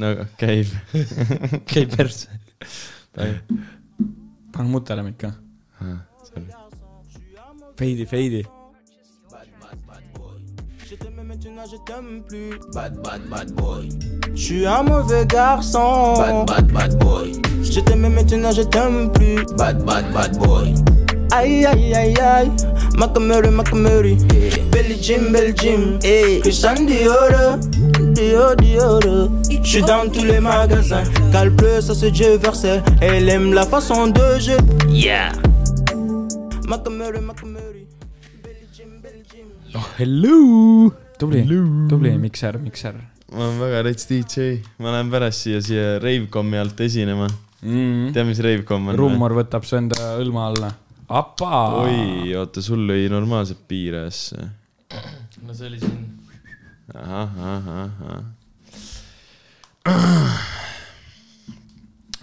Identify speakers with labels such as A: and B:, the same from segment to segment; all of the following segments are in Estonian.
A: no aga käib .
B: käib persse . panen mutelemik ka . Feidi , feidi .
C: Je t'aimais maintenant, je t'aime plus. Bad, bad, bad boy. Je suis un mauvais garçon. Bad, bad, bad boy. Je t'aimais maintenant, je t'aime plus. Bad, bad, bad boy. Aïe, aïe, aïe, aïe. Macamuri, Macamuri. Belly Jim, Belly Jim. Hey. Christian Dior. Dior, Dior. Je suis dans tous les magasins. Qu'elle pleut, ça se versel. Elle aime la façon de jouer. Yeah. Macamuri, Macamuri. Belly Jim, Belly Jim.
B: hello . tubli , tubli mikser , mikser
A: ma olen väga rets DJ , ma lähen pärast siia , siia Ravecomi alt esinema .
B: mm .
A: tea , mis Ravecom on ?
B: rummor võtab su enda õlma alla . apa .
A: oi , oota , sul lõi normaalselt piirajasse .
D: no see oli siin .
A: ahah , ahah , ahah .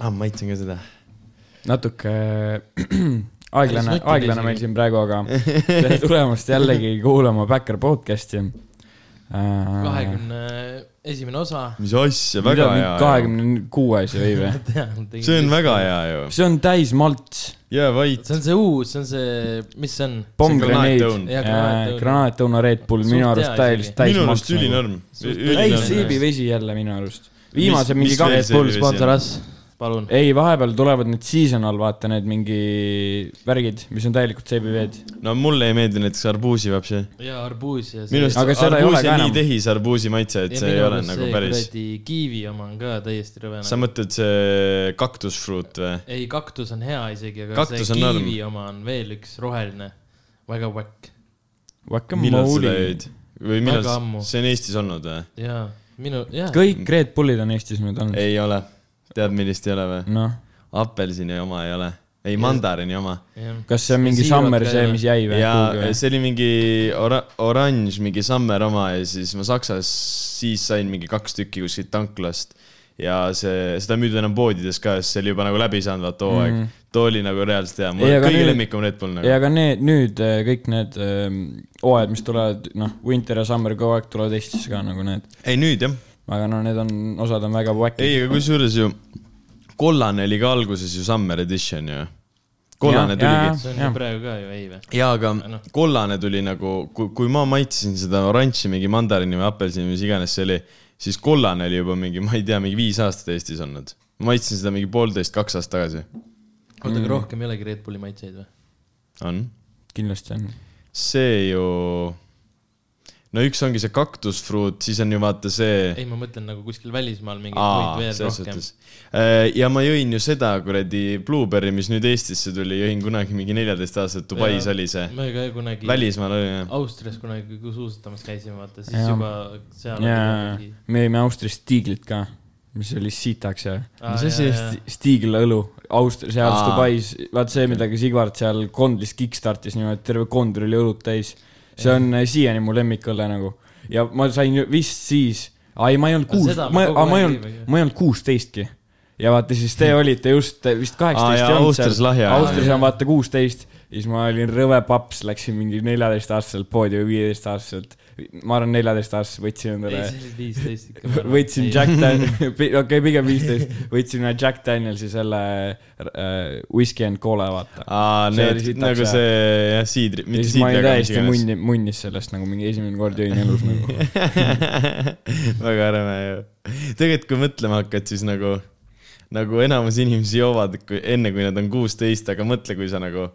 A: ah , maitsen ka seda .
B: natuke aeglane ,
D: Ei, sa
B: aeglane
D: mõtled
B: meil
D: isegi.
B: siin praegu , aga tere tulemast jällegi kuulama Backer podcast'i .
D: kahekümne esimene osa .
A: mis asja , väga hea .
B: kahekümne kuues või või ?
A: see on väga hea ju .
B: see on täis malts ,
A: jää vait .
D: see on see uus , see on see , mis see on ?
B: pommgranaat
A: õun. ,
D: Jaa, granaatõun.
B: granaatõuna Red Bull ,
D: Suht
B: minu
D: hea
B: arust täis ,
D: isegi.
B: täis
A: minu
B: malts nagu.
A: arust . ülinorm .
D: Suht-
B: täis
D: Ülinorm.
B: siibivesi jälle minu arust . viimase
A: mis
B: mingi
A: veel
B: kaks
A: see-
D: Red Bull sponsor us , palun .
B: ei , vahepeal tulevad need seasonal , vaata need mingi värgid , mis on täielikult seebiveed .
A: no mulle ei meeldi näiteks arbuusivaps jah .
D: ja arbuus ja see .
A: minu arust
B: Aga seda ei ole
A: arbuus
B: ka
A: on nii
B: enam.
A: tehis arbuusi maitse , et see ei ole nagu päris .
D: kiivi oma on ka täiesti rõve .
A: sa mõtled see kaktusfruit või ?
D: ei , kaktus on hea isegi , aga
A: Kaktus
D: kaktus see
A: on norm.
D: kiivi oma on veel üks roheline . väga whack .
A: millal seda jõid ? või millal
D: Väga ammu. ,
A: see on Eestis olnud või ?
D: jaa , minu , jaa .
B: kõik Red Bullid on Eestis nüüd olnud .
A: ei ole . tead , millist ei ole või ?
B: noh ,
A: apelsini oma ei ole . ei , mandariini oma .
B: kas see on mingi summer see , mis jäi või ?
A: ja see oli mingi ora- , oranž , mingi Summer oma ja siis ma Saksas , siis sain mingi kaks tükki kuskilt tanklast . ja see , seda ei müüdud enam poodides ka , sest see oli juba nagu läbi saanud , vaata hooaeg mm. . too oli nagu reaalselt hea , mul
B: Ei, aga
A: kõige
B: nüüd-
A: lemmikum Red Bull
B: ja
A: nagu .
B: ka need nüüd eh, kõik need ehm, hooajad , mis tulevad , noh , winter ja summer kogu aeg tulevad Eestisse ka nagu need ,
A: ei nüüd jah .
B: aga no need on , osad on väga
A: ei ,
B: wack'id .
A: aga kusjuures ju kollane oli ka alguses ju Summer Edition ju . kollane
B: Jaa,
A: tuligi
B: jaa.
D: see on
B: Jaa.
D: ju praegu ka ju , ei või ?
A: jaa , aga
D: Noh.
A: kollane tuli nagu , kui , kui ma maitsesin seda oranži , mingi mandariini või apelsini , mis iganes see oli , siis kollane oli juba mingi , ma ei tea , mingi viis aastat Eestis olnud . ma maitsesin seda mingi poolteist , kaks aastat tagasi . Mm.
D: oota , aga rohkem ei olegi Red Bulli maitseid või ?
A: on .
B: kindlasti on .
A: see ju , no üks ongi see kaktusfruut , siis on ju vaata see .
D: ei , ma mõtlen nagu kuskil välismaal mingi puit
A: Aa,
D: veel
A: selles
D: rohkem .
A: suhtes. Äh, ja ma jõin ju seda kuradi blueberry , mis nüüd Eestisse tuli , jõin kunagi mingi neljateist aastaselt , Dubais
D: Jaa.
A: oli see .
D: me ka kunagi Välis.
A: välismaal oli jah .
D: Austrias kunagi kui suusatamas käisime , vaata siis
B: Jaa.
D: ja. juba seal
B: ja
D: oli
B: me jõime Austrias stiiglit ka , mis oli sitaks ja .
D: Aa,
B: mis asi
D: Ah,
B: see
D: jaa, jaa.
B: sti- stiigla õlu , Austria , seal
A: Aa.
B: Dubais , vaat see , millega Sigvard seal kondlis kickstartis niimoodi , et terve kondur oli õlut täis . see on eh, siiani mu lemmikõlle nagu ja ma sain ju vist siis , ei ma ei olnud
D: Aga
B: kuus ,
D: seda me
B: ma ,
D: kogu
B: ma ei
D: aeg
B: olnud
D: viimegi. ,
B: ma ei olnud kuusteistki . ja vaata siis te olite just te vist kaheksateist
A: jaa,
B: ei olnud
A: Austrias lahja.
B: Austrias on vaata kuusteist , siis ma olin rõve paps , läksin mingi neljateistaastaselt poodi või viieteistaastaselt . ma arvan , neljateistaastaselt võtsin
D: mingi
B: endale
D: ei , see oli viisteist ikka .
B: võtsin Jack Dan- , okei , pigem viisteist , võtsin ühe Jack Danielsi selle äh, whisky and cola , vaata .
A: Aa,
B: See oli
A: need
B: sitaks,
A: nagu
B: jah.
A: see jah , siidri ,
B: ja
A: Ah, mitte
B: siis
A: siidri ,
B: ma olin
A: aga mis
B: täiesti
A: iganes .
B: munni , munnis sellest nagu mingi esimene kord jõin elus nagu . nagu.
A: väga äärme ju . tegelikult , kui mõtlema hakkad , siis nagu , nagu enamus inimesi joovad kui, enne , kui nad on kuusteist , aga mõtle , kui sa nagu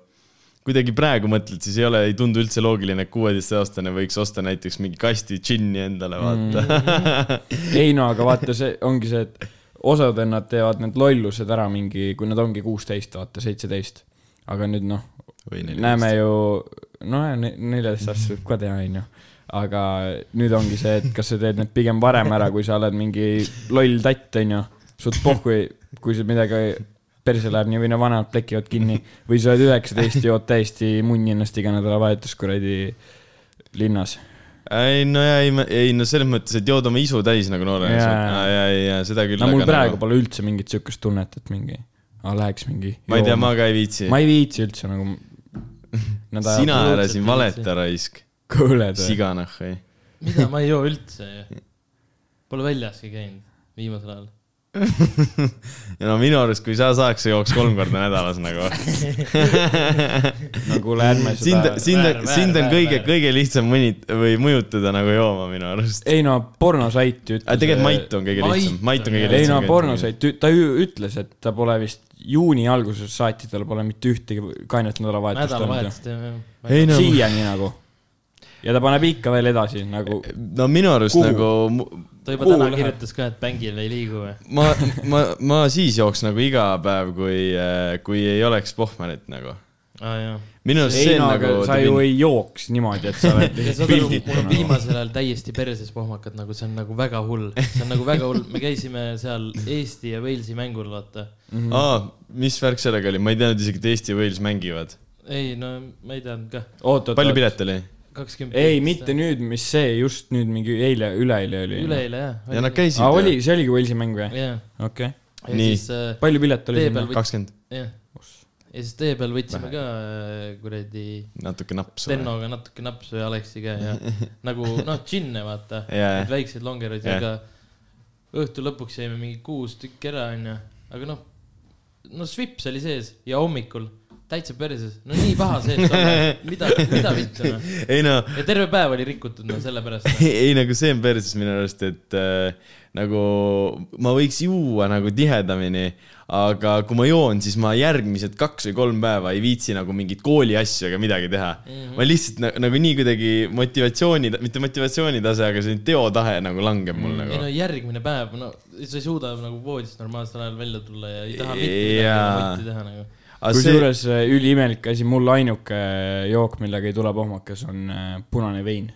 A: kuidagi praegu mõtled , siis ei ole , ei tundu üldse loogiline , et kuueteistaastane võiks osta näiteks mingi kasti džinni endale , vaata mm. .
B: ei no aga vaata , see ongi see , et osad nad teevad need lollused ära mingi , kui nad ongi kuusteist , vaata seitseteist . aga nüüd noh ,
A: Või neliteist.
B: näeme ju , nojah , neljateist aastast võib ka teha , onju . aga nüüd ongi see , et kas sa teed need pigem varem ära , kui sa oled mingi loll tatt , onju . suht pohhu , kui sul midagi perse läheb , nii või naa , vanemad plekivad kinni või sa oled üheksateist , jood täiesti munni ennast iga nädalavahetus kuradi linnas .
A: ei no ja ei , ei no selles mõttes , et jood oma isu täis nagu noorena
B: Jaa.
A: yeah. . ja , ja , ja seda küll . nagu-
B: no mul praegu pole üldse mingit siukest tunnet , et mingi , läheks mingi .
A: ma ei tea , ma ka ei viitsi .
B: ma ei viitsi üldse nagu .
A: sina ära siin valeta raisk ,
B: kõled või ?
A: siganah või ?
D: mida ma ei joo üldse ju . Pole väljaski käinud viimasel ajal .
A: ja no minu arust , kui sa saaks , sa jooks kolm korda nädalas nagu .
B: no kuule , ärme
A: sind
B: seda ,.
A: sind
D: Väär, , väär,
A: sind on
D: väär,
A: kõige ,
D: väär.
A: kõige lihtsam mõni- või mõjutada nagu jooma minu arust .
B: ei no pornosait ütles . äh,
A: aga tegelikult Mait on kõige
D: Mait
A: lihtsam , Mait on kõige
D: on-
A: lihtsam .
B: ei no pornosait , ta ju ütles , et ta pole vist juuni alguses saati , tal pole mitte ühtegi kainet nädalavahetust olnud
D: nädalavahetust jah .
A: Ei
B: ju
A: no- .
B: siiani nagu . ja ta paneb ikka veel edasi nagu ,
A: no minu arust
B: Kuhu?
A: Kuhu? nagu mu-
D: ta juba
B: Kuhu
D: täna
B: läheb?
D: kirjutas ka , et bängil ei liigu või ?
A: ma , ma , ma siis jooks nagu iga päev , kui , kui ei oleks Pohmarit nagu .
D: aa jaa .
A: minu arust see
B: ei
A: on
B: no
A: nagu
B: aga sa ju ei jooks niimoodi , et sa oled
D: ja
B: lihtsalt
D: saad aru , mul on
B: pilditud .
D: viimasel ajal täiesti perses pohmakad , nagu see on nagu väga hull , see on nagu väga hull , me käisime seal Eesti ja Walesi mängul , vaata .
A: debiil- Mhm. aa , mis värk sellega oli , ma ei teadnud isegi , et Eesti ja Wales mängivad .
D: ei no ma ei teadnud ka ,
A: palju ? pilet oli ?
D: kakskümmend .
B: ei , mitte nüüd , mis see just nüüd mingi eile , üleeile oli . noh.
D: üleeile
A: ja
D: jah .
A: nad käisid
B: aa , oli ,. see oligi Walesi mäng või ?
D: jah ,
B: okei okay. .
D: ja
A: Nii.
D: siis äh,
B: palju pilet oli
D: Tee
B: sinna
D: peal ?
A: kakskümmend ,
D: jah , ja siis tee peal võtsime ka äh, kuradi
A: natuke naps .
D: Bennoga natuke napsu ja Aleksiga ja nagu noh , džinne vaata ,
A: Jaa,
D: neid väikseid longereid
A: Jaa.
D: ja ka õhtu lõpuks jäime mingi kuus tükki ära , onju , aga noh , no svips oli sees ja hommikul täitsa perses , no nii paha sees olla , mida , mida vittu noh .
A: ei no ,
D: ja terve päev oli rikutud no sellepärast . noh.
A: ei nagu see on perses minu arust , et äh, nagu ma võiks juua nagu tihedamini , aga kui ma joon , siis ma järgmised kaks või kolm päeva ei viitsi nagu mingeid kooli asju ega midagi teha mm . -hmm. ma lihtsalt na nagu nii kuidagi motivatsiooni , mitte motivatsioonitase , aga selline teotahe nagu langeb mul
D: Mhm. ei
A: nagu
D: no . järgmine päev , no sa ei suuda nagu voodist normaalsel ajal välja tulla ja ei taha mitte
A: Jaa.
D: midagi mutti teha nagu .
A: See...
B: kusjuures see... üliimelik asi , mul ainuke äh, jook , millega ei tule pohmakas , on äh, punane vein,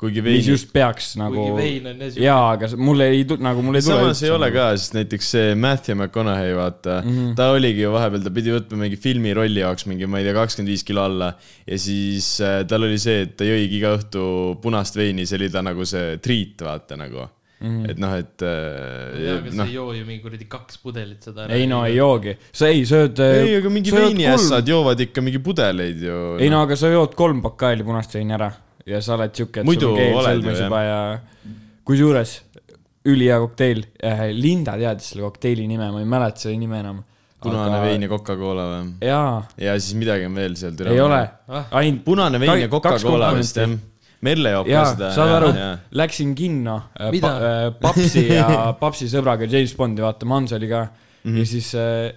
A: kuigi
B: vein. . mis
A: veini
B: just peaks nagu
D: kuigi . vein on jah siuke
B: jaa , aga s- mul ei tule , nagu mul ei tule .
A: samas ei ole . ka , sest näiteks see Matthew McConaughey , vaata mm ,
B: Mhm.
A: -hmm. ta oligi ju vahepeal , ta pidi võtma mingi filmi rolli jaoks mingi , ma ei tea , kakskümmend viis kilo alla . ja siis äh, tal oli see , et ta jõigi iga õhtu punast veini , see oli ta nagu see treat , vaata nagu mm .
B: Mhm.
A: -hmm. et noh , et äh,
D: jaa , aga sa
A: noh
D: ei , joo ju mingi kuradi kaks pudelit seda
B: ei no ei . joogi , sa äh, ei sööd .
A: ei , aga mingi veiniässad joovad ikka mingi pudeleid ju . noh,
B: ei no aga sa jood kolm bakaali punast veini ära ja sa oled siuke , et
A: Muidu
B: sul on keel
A: oled ju,
B: sõlmes
A: jah.
B: juba ja . kusjuures ülihea kokteil , Linda teadis selle kokteili nime , ma ei mäleta selle nime enam .
A: punane aga... vein ja Coca-Cola või ?
B: jaa ,
A: ja siis midagi on veel seal .
B: ei ole
D: Ah. ,
B: ainult .
A: punane vein ja Coca-Cola vist jah . Merle joob ka
B: jaa ,
A: seda .
B: saad aru , läksin kinno äh,
D: Mida?
B: pa- äh, papsi ja papsi sõbraga James Bondi vaatama , Hans oli ka mm . -hmm. ja siis äh,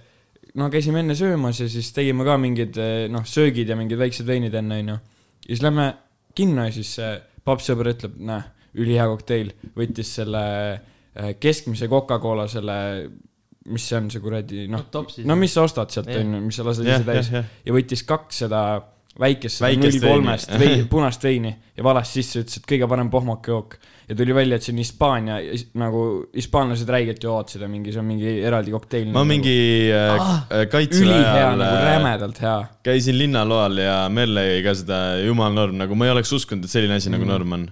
B: no käisime enne söömas ja siis tegime ka mingid äh, noh , söögid ja mingid väiksed veinid enne onju . ja siis lähme kinno ja siis äh, papsisõber ütleb , näe , ülihea kokteil , võttis selle äh, keskmise Coca-Cola selle , mis see on , see kuradi noh
D: No topsi.
B: no mis sa ostad sealt
D: Jah.
B: onju , mis sa lased
A: Jah,
B: ise täis
A: jah, jah.
B: ja võttis kaks seda väikest , null
A: Väikest
B: kolmest
A: veini.
B: veini , punast veini ja valas sisse , ütles , et kõige parem pohmakajook . ja tuli välja , et see on Hispaania , nagu hispaanlased räigelt joovad seda mingi , see on mingi eraldi kokteil .
A: ma mingi äh, äh,
B: nagu,
A: kaitseväe
B: ülihea
A: ajal
B: nagu
A: äh,
B: rämedalt hea .
A: käisin linnaloal ja Merle jõi ka seda jumal norm , nagu ma ei oleks uskunud , et selline asi mm. nagu norm on .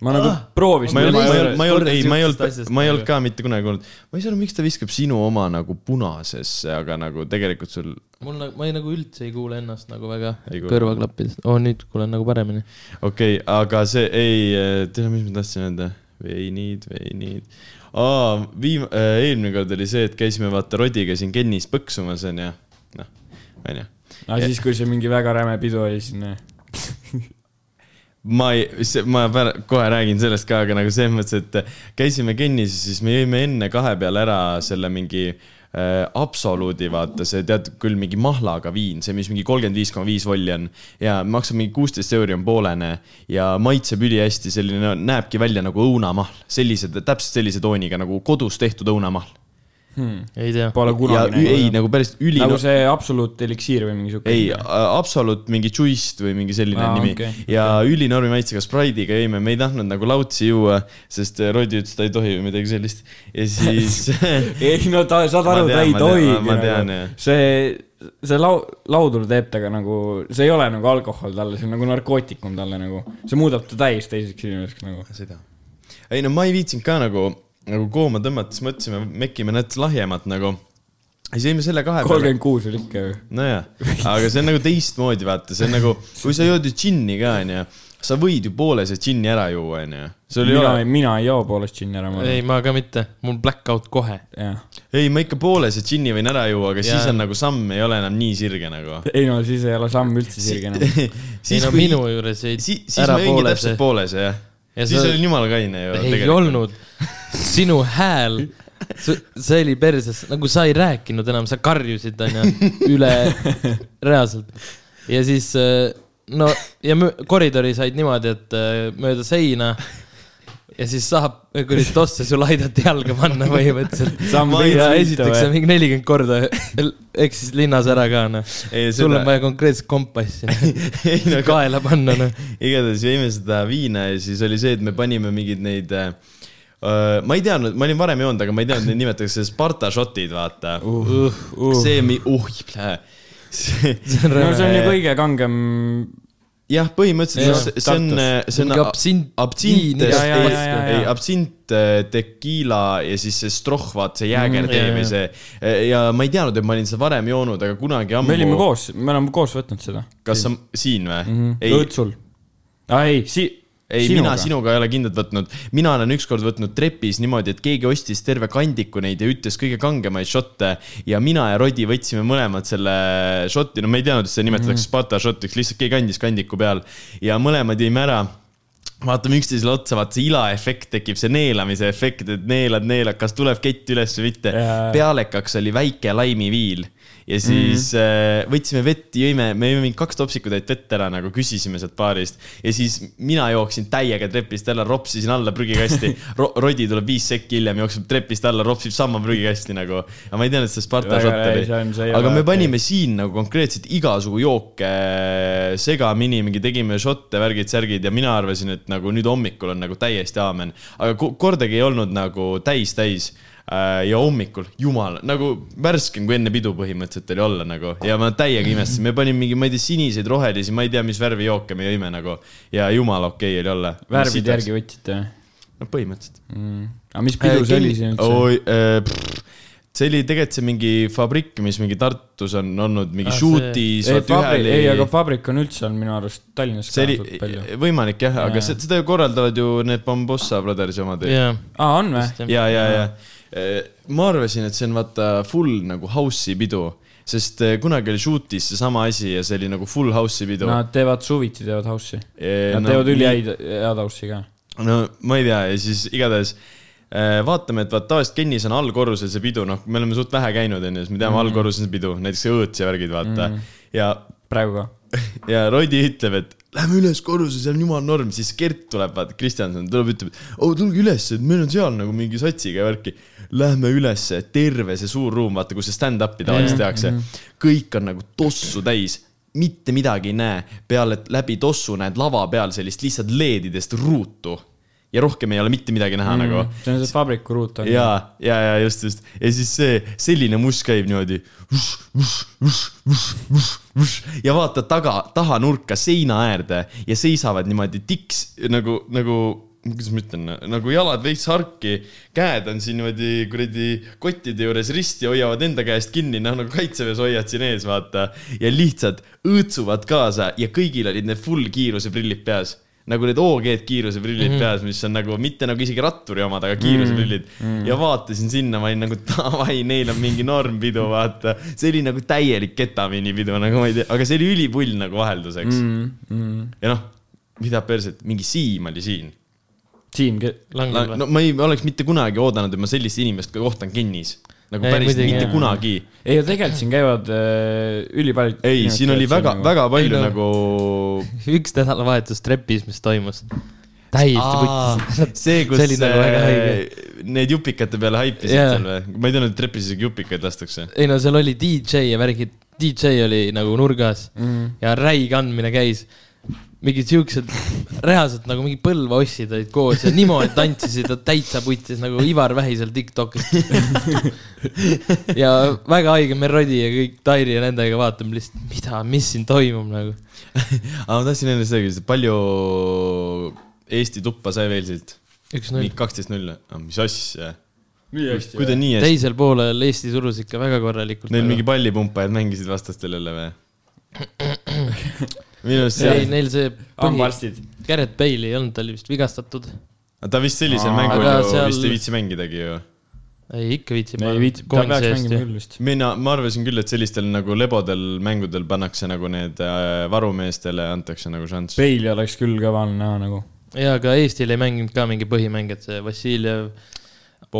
B: ma nagu proovisin .
A: Ah! ma ei olnud , ma ei olnud , ma ei olnud ,
D: korra
A: ei , ma ei olnud
D: sihukesest asjast ,
A: ma ei
D: nagu.
A: olnud ka mitte kunagi kuulnud . ma ei saa aru , miks ta viskab sinu oma nagu punasesse , aga nagu tegelikult sul ,
D: mul nagu , ma ei nagu üldse ei kuule ennast nagu väga
A: Ei kuule.
D: kõrvaklappidest oh, , nüüd kuulen nagu paremini .
A: okei okay, , aga see ei , tead , mis ma tahtsin öelda ? veinid , veinid . aa , viim- , eelmine kord oli see , et käisime vaata Rodiga siin Kennis põksumas onju , noh , onju .
B: aga siis , kui see mingi väga räme pidu oli noh, siin .
A: ma ei , ma pär- kohe räägin sellest ka , aga nagu selles mõttes , et käisime kinnis , siis me jõime enne kahe peale ära selle mingi äh, absoluudi , vaata see tead küll mingi mahlaga viin , see , mis mingi kolmkümmend viis koma viis volli on ja maksab mingi kuusteist euri on poolene ja maitseb ülihästi , selline näebki välja nagu õunamahl , sellise , täpselt sellise tooniga nagu kodus tehtud õunamahl .
D: ei tea .
B: Pole
A: ja
B: kunagi
A: ü- ei , nagu päris üli
B: nagu see Absolute eliksiir või mingi siuke .
A: ei , Absolut mingi Juiced või mingi selline
B: Aa,
A: Aa, nimi
B: okei,
A: okay, . ja okay. ülinormi maitsega Sprite'iga jõime , me ei tahtnud nagu lautsi juua , sest Rodi ütles , et ta ei tohi või midagi sellist . ja siis
B: ei no ta , saad
A: Ma
B: aru ,
A: tean,
B: ta ei
A: ma tean,
B: tohigi
A: ma- ma tean,
B: nagu.
A: jah.
B: see , see lau- , laudur teeb temaga nagu , see ei ole nagu alkohol talle , see on nagu narkootikum talle nagu . see muudab ta täis teiseks inimeseks nagu .
A: seda . ei no ma ei viitsinud ka nagu , nagu kooma tõmmata , siis mõtlesime , mekime natuke lahjemat nagu . siis jõime selle kahe peale .
B: kolmkümmend kuus oli ikka ju .
A: nojah , aga see on nagu teistmoodi , vaata , see on nagu , kui sa jood ju džinni ka , onju , sa võid ju poole see džinni ära juua , onju . sul ei
B: mina
A: ole ,,
B: mina ei joo poolest džinni ära , ma
D: ei ,
B: arvan .
D: ma ka mitte , mul blackout kohe .
B: jah .
A: ei , ma ikka poole see džinni võin ära juua , aga ja. siis
D: Jaa.
A: on nagu samm ei ole enam nii sirge nagu .
B: ei no siis ei ole samm üldse sirge enam .
D: ei
A: siis
D: no minu juures ei ,
A: si, , siis
D: ära
A: ma jõingi
D: poole
A: täpselt
D: see .
A: poolese jah ja .
D: Ja
A: siis
D: sa-
A: olin jumala kaine ju .
D: ei olnud , sinu hääl , see oli perses , nagu sa ei rääkinud enam , sa karjusid onju üle reaalselt . ja siis äh, no ja mö- koridori said niimoodi , et äh, mööda seina ja siis saab kuradi tosse sulle aidati jalga panna põhimõtteliselt .
B: samm
A: Ma ei
D: ja
B: veits liita
D: esiteks sa
B: või ?
D: mingi nelikümmend korda eksis linnas ära ka noh .
A: Ei,
D: sul
A: seda-
D: on vaja konkreetset kompassi
A: Ei, no
D: noh
A: aga-
D: kaela panna noh .
A: igatahes jõime seda viina ja siis oli see , et me panime mingeid neid äh, öö, ma ei teadnud , ma olin varem joonud , aga ma ei teadnud , neid nimetatakse Sparta šotid , vaata uh, . Uh.
B: no
A: see , oh , see ,
B: see
D: nagu
B: on ju kõige kangem ,
A: jah , põhimõtteliselt
D: Jah,
A: see on , see on
D: Mingi absint-
A: absint ,
D: viin-
B: jaa, jaa, jaa, jaa,
A: ei
B: jaa.
A: absint , tekiila ja siis see strohh , vaata see jääger
D: Mm,
A: tee
D: jaa,
A: või see . ja ma ei teadnud , et ma olin seda varem joonud , aga kunagi
B: me olime
A: ammu .
B: koos , me oleme koos võtnud seda .
A: kas sa siin või ?
D: Mhm.
A: ei ,
B: õõtsul . aa Ah, ei , si- .
A: ei , mina . sinuga ei ole kindlalt võtnud , mina olen ükskord võtnud trepis niimoodi , et keegi ostis terve kandiku neid ja ütles kõige kangemaid šotte ja mina ja Rodi võtsime mõlemad selle šoti , no ma ei teadnud , et seda nimetatakse Sparta šotiks , lihtsalt keegi andis kandiku peal ja mõlemad jõime ära vaatame üksteisele otsa , vaata see ilaefekt tekib , see neelamise efekt , et neelad , neelad , kas tuleb kett üles või mitte
B: Jaa. .
A: pealekaks oli väike laimiviil ja siis
B: Mhm.
A: mm. võtsime vett , jõime , me jõime mingi kaks topsikutäit vett ära nagu , küsisime sealt baarist ja siis mina jooksin täiega trepist alla , ropsisin alla prügikasti Ro . Rodi tuleb viis sekki hiljem , jookseb trepist alla , ropsib sama prügikasti nagu . aga ma ei teadnud , et see Sparta
B: Väga
A: šott
B: hea,
A: oli
B: see on- see ei .
A: aga
B: ole
A: me
B: okei.
A: panime siin nagu konkreetselt igasugu jooke äh, segamini , mingi tegime šotte , värgid-särgid ja mina arvasin , et nagu nüüd hommikul on nagu täiesti aamen . aga ko- kordagi ei olnud nagu täis-täis . ja hommikul , jumal , nagu värskem kui enne pidu põhimõtteliselt oli olla nagu ja ma täiega imestasin , me panime mingi , ma ei tea , siniseid , rohelisi , ma ei tea , mis värvi jooke me jõime nagu ja jumala okei okay oli olla .
B: värvide järgi . võtsite või ?
A: no põhimõtteliselt .
B: aga mis pidu see oli siin üldse ?
A: Äh, oi , see oli tegelikult see mingi fabrik , mis mingi Tartus on olnud , mingi
D: Ah,
A: Šutis ,
B: ei ,
A: vot ühe
B: Fabrik , ei , aga
A: oli .
B: Fabrik on üldse olnud minu arust Tallinnas
A: see
B: ka
A: oli
B: suht palju .
A: võimalik jah , aga
B: Jaa.
A: se- seda ju korraldavad ju need Bambossa Brothersi omad . ja ,
D: jaa .
B: aa , Ah, on või ?
A: ja , ja . Äh, ma arvasin , et see on vaata full nagu house'i pidu , sest eh, kunagi oli Šutis seesama asi ja see oli nagu full house'i pidu .
B: Nad teevad suviti , teevad house'i .
A: Eh,
B: Nad
A: no
B: teevad
A: nii-
B: ülihäid , head house'i ka .
A: no ma ei tea ja siis igatahes äh, vaatame , et vaat tavaliselt Kennis on allkorrusel see pidu , noh , me oleme suht vähe käinud , onju , siis me teame mm. allkorrusel on pidu , näiteks see õõts ja värgid , vaata mm. . ja ,
B: praegu ka .
A: ja Rodi ütleb , et lähme üles korruse , seal on jumala norm , siis Gert tuleb , vaata , Kristjanson tuleb , ütleb , et oo , tulge ülesse , et meil on seal nagu mingi satsiga ja värki . Lähme ülesse , terve see suur ruum , vaata , kus see stand-up'i tavaliselt tehakse . kõik on nagu tossu täis mitte midagi ei näe , peale et läbi tossu näed lava peal sellist lihtsalt LED-idest ruutu ja rohkem ei ole mitte midagi näha mm. nagu .
B: see on see Fabriku ruut on ju .
A: ja , ja , ja just , just ja siis see selline must käib niimoodi . ja vaata taga , taha nurka seina äärde ja seisavad niimoodi tiks nagu , nagu , kuidas ma ütlen , nagu jalad veits harki . käed on siin niimoodi kuradi kottide juures risti , hoiavad enda käest kinni , noh nagu kaitseväes hoiad siin ees , vaata . ja lihtsalt õõtsuvad kaasa ja kõigil olid need full kiiruse prillid peas nagu need OG-d kiiruseprillid mm
D: Mhm.
A: -hmm. peas , mis on nagu mitte nagu isegi ratturi omad , aga kiiruseprillid mm . -hmm.
D: Mhm.
A: ja vaatasin sinna , ma olin nagu davai , neil on mingi normpidu , vaata . see oli nagu täielik ketamiini pidu , nagu ma ei tea , aga see oli ülipull nagu vahelduseks
D: Mhm.
A: mm . -hmm. ja noh , mida perset , mingi Siim oli siin .
B: Siim ,
D: langeb
A: no ma ei oleks mitte kunagi oodanud , et ma sellist inimest ka kohtan kinnis . nagu
D: Ei,
A: päris ,
D: muidugi,
A: mitte
D: jah.
A: kunagi .
B: ei no tegelikult siin käivad äh, ülipaljud .
A: ei , siin oli väga-väga palju
D: Ei, no-
A: nagu
D: üks nädalavahetus trepis , mis toimus . täiesti
A: Aa,
D: võttis .
A: see , kus
D: see oli nagu väga õige .
A: äh, need jupikate peale haipisid
D: Jaa.
A: yeah. seal või ? ma ei teadnud , et trepis isegi jupikaid lastakse .
D: ei no seal oli DJ ja värgid , DJ oli nagu nurgas mm. ja räige andmine käis . mingid siuksed , reaalselt nagu mingi põlveossid olid koos ja niimoodi tantsisid , et täitsa putsis nagu Ivar Vähisel Tiktokis . ja väga haige , meil Rodi ja kõik Tairi ja nendega vaatame lihtsalt , mida , mis siin toimub nagu .
A: aga ma tahtsin enne seda küsida , palju Eesti tuppa sai veel siit ?
D: üks-null
A: mingi . kaksteist null või ? mis asja ?
B: hästi .
A: kuidas nii hästi ?
D: teisel poolel Eesti surus ikka väga korralikult .
A: Neil mingi pallipumpajad mängisid vastastel jälle või ? minu arust
D: ei ,
A: see ,
D: neil see
B: Ah,
D: põhi ,
B: hambaarstid .
D: Garrett Bale ei olnud , ta oli vist vigastatud .
A: ta vist sellisel
B: Aa.
A: mängul
D: Aga
A: ju
D: seal-
A: vist ei viitsi mängidagi ju .
D: ei , ikka viitsib .
B: ei viitsi , ta peaks mängima küll vist .
A: mina , ma arvasin küll , et sellistel nagu lebodel mängudel pannakse nagu need äh, varumeestele antakse nagu šanss .
B: Bale oleks küll kõva all näha nagu .
D: jaa , aga Eestil ei mänginud ka mingi põhimängijad , see Vassiljev ,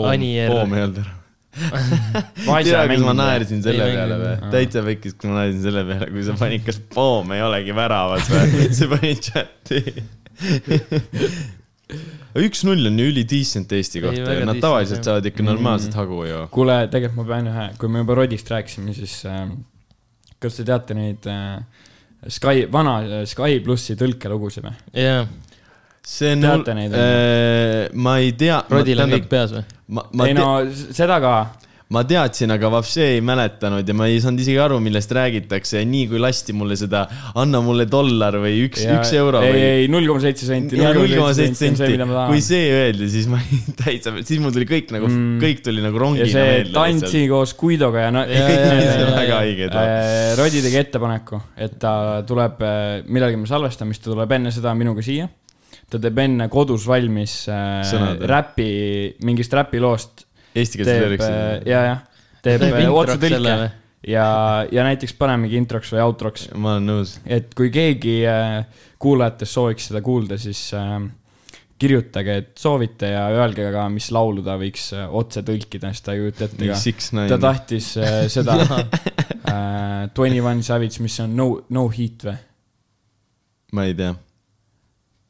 D: Anier.
A: poom ei olnud ära . tead , kas ma naersin selle
D: Ei
A: peale või
D: mänginud. ?
A: täitsa pekkis , kui ma naersin selle peale , kui sa panid , kas poom ei olegi väravas või ? sa panid chati . üks-null on ju ülidecent Eesti
D: Ei,
A: kohta
D: väga
A: ja nad
D: decent,
A: tavaliselt
D: jah.
A: saavad ikka normaalset hagu ju .
B: kuule , tegelikult ma pean ühe , kui me juba Rodist rääkisime , siis äh, kas te teate neid äh, Sky , vana äh, Sky plussi tõlkelugusid või ?
D: jaa ,
A: see on Äh,
B: Teate neid, ,
A: ma ei tea .
D: Rodil on kõik peas või ?
A: ma , ma
B: ei , no s- seda ka ,
A: ma teadsin , aga vapsee ei mäletanud ja ma ei saanud isegi aru , millest räägitakse ja nii kui lasti mulle seda , anna mulle dollar või üks ,
B: Ja-
A: üks euro
B: ei ,
A: või
B: ei null koma seitse senti .
A: ja null koma seitse nagu senti , kui
B: ja
A: see öeldi , siis ma olin täitsa , siis mul tuli kõik nagu mm.
B: Mm. ,
A: kõik tuli nagu rongina
B: see
A: meelde .
B: tantsi koos Guidoga ja no .
A: ja kõik
D: ja,
A: need
D: ja,
A: on
D: ja,
A: väga
D: ja.
A: õiged .
B: Äh, Rodi tegi ettepaneku , et ta tuleb , millalgi me salvestame , siis ta tuleb enne seda minuga siia . ta teeb enne kodus valmis äh,
A: Sõnad, jah.
B: räpi , mingist räpiloost
A: Eestikeelsed
B: teeb , äh,
A: lüüriksid .
B: ja , jah , teeb
D: Teeb
B: äh,
D: introks
B: otsetõlke
D: selle või?
B: ja , ja näiteks panemegi introks või outroks ,
A: ma olen nõus .
B: et kui keegi äh, kuulajatest sooviks seda kuulda , siis äh, kirjutage , et soovite ja öelge ka , mis laulu ta võiks äh, otse tõlkida , sest ta ei kujuta ette ka .
A: Six
B: ta
A: Nine .
B: tahtis äh, seda Twenty One Savage , mis on no , no hit või ?
A: ma ei tea .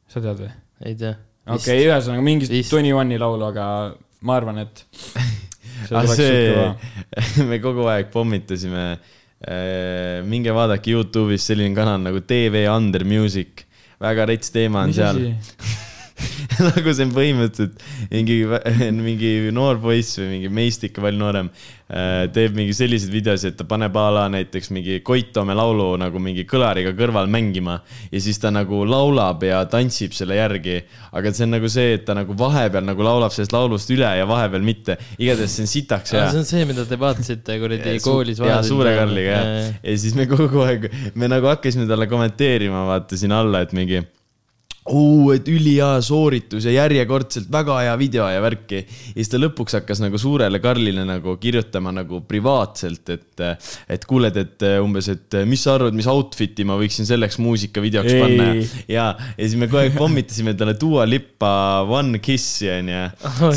B: sa tead või ?
D: ei tea .
B: okei okay, , ühesõnaga mingist
D: Vist.
B: Twenty One'i laulu , aga ma arvan , et see
A: aga
B: tuleks sihuke
A: Ah, see
B: kõva .,
A: me kogu aeg pommitasime . minge vaadake Youtube'is selline kanal nagu TV Under Music , väga rets teema on
B: mis
A: seal
B: asi ?
A: nagu see on põhimõtteliselt mingi , mingi noor poiss või mingi meist ikka palju noorem äh, teeb mingi selliseid videosid , et ta paneb a la näiteks mingi Koit Toome laulu nagu mingi kõlariga kõrval mängima ja siis ta nagu laulab ja tantsib selle järgi . aga see on nagu see , et ta nagu vahepeal nagu laulab sellest laulust üle ja vahepeal mitte . igatahes see on sitaks hea
D: see on see , mida te vaatasite kuradi
A: Su-
D: koolis .
A: jaa , suure Karliga jah . ja siis me kogu aeg , me nagu hakkasime talle kommenteerima , vaata siin alla , et mingi . oo , et ülihea sooritus ja järjekordselt väga hea video ja värki . ja siis ta lõpuks hakkas nagu suurele Karlile nagu kirjutama nagu privaatselt , et , et kuuled , et umbes , et mis sa arvad , mis outfit'i ma võiksin selleks muusikavideoks
B: Ei.
A: panna ja , ja siis me kogu aeg pommitasime talle Dua Lipa One Kiss onju .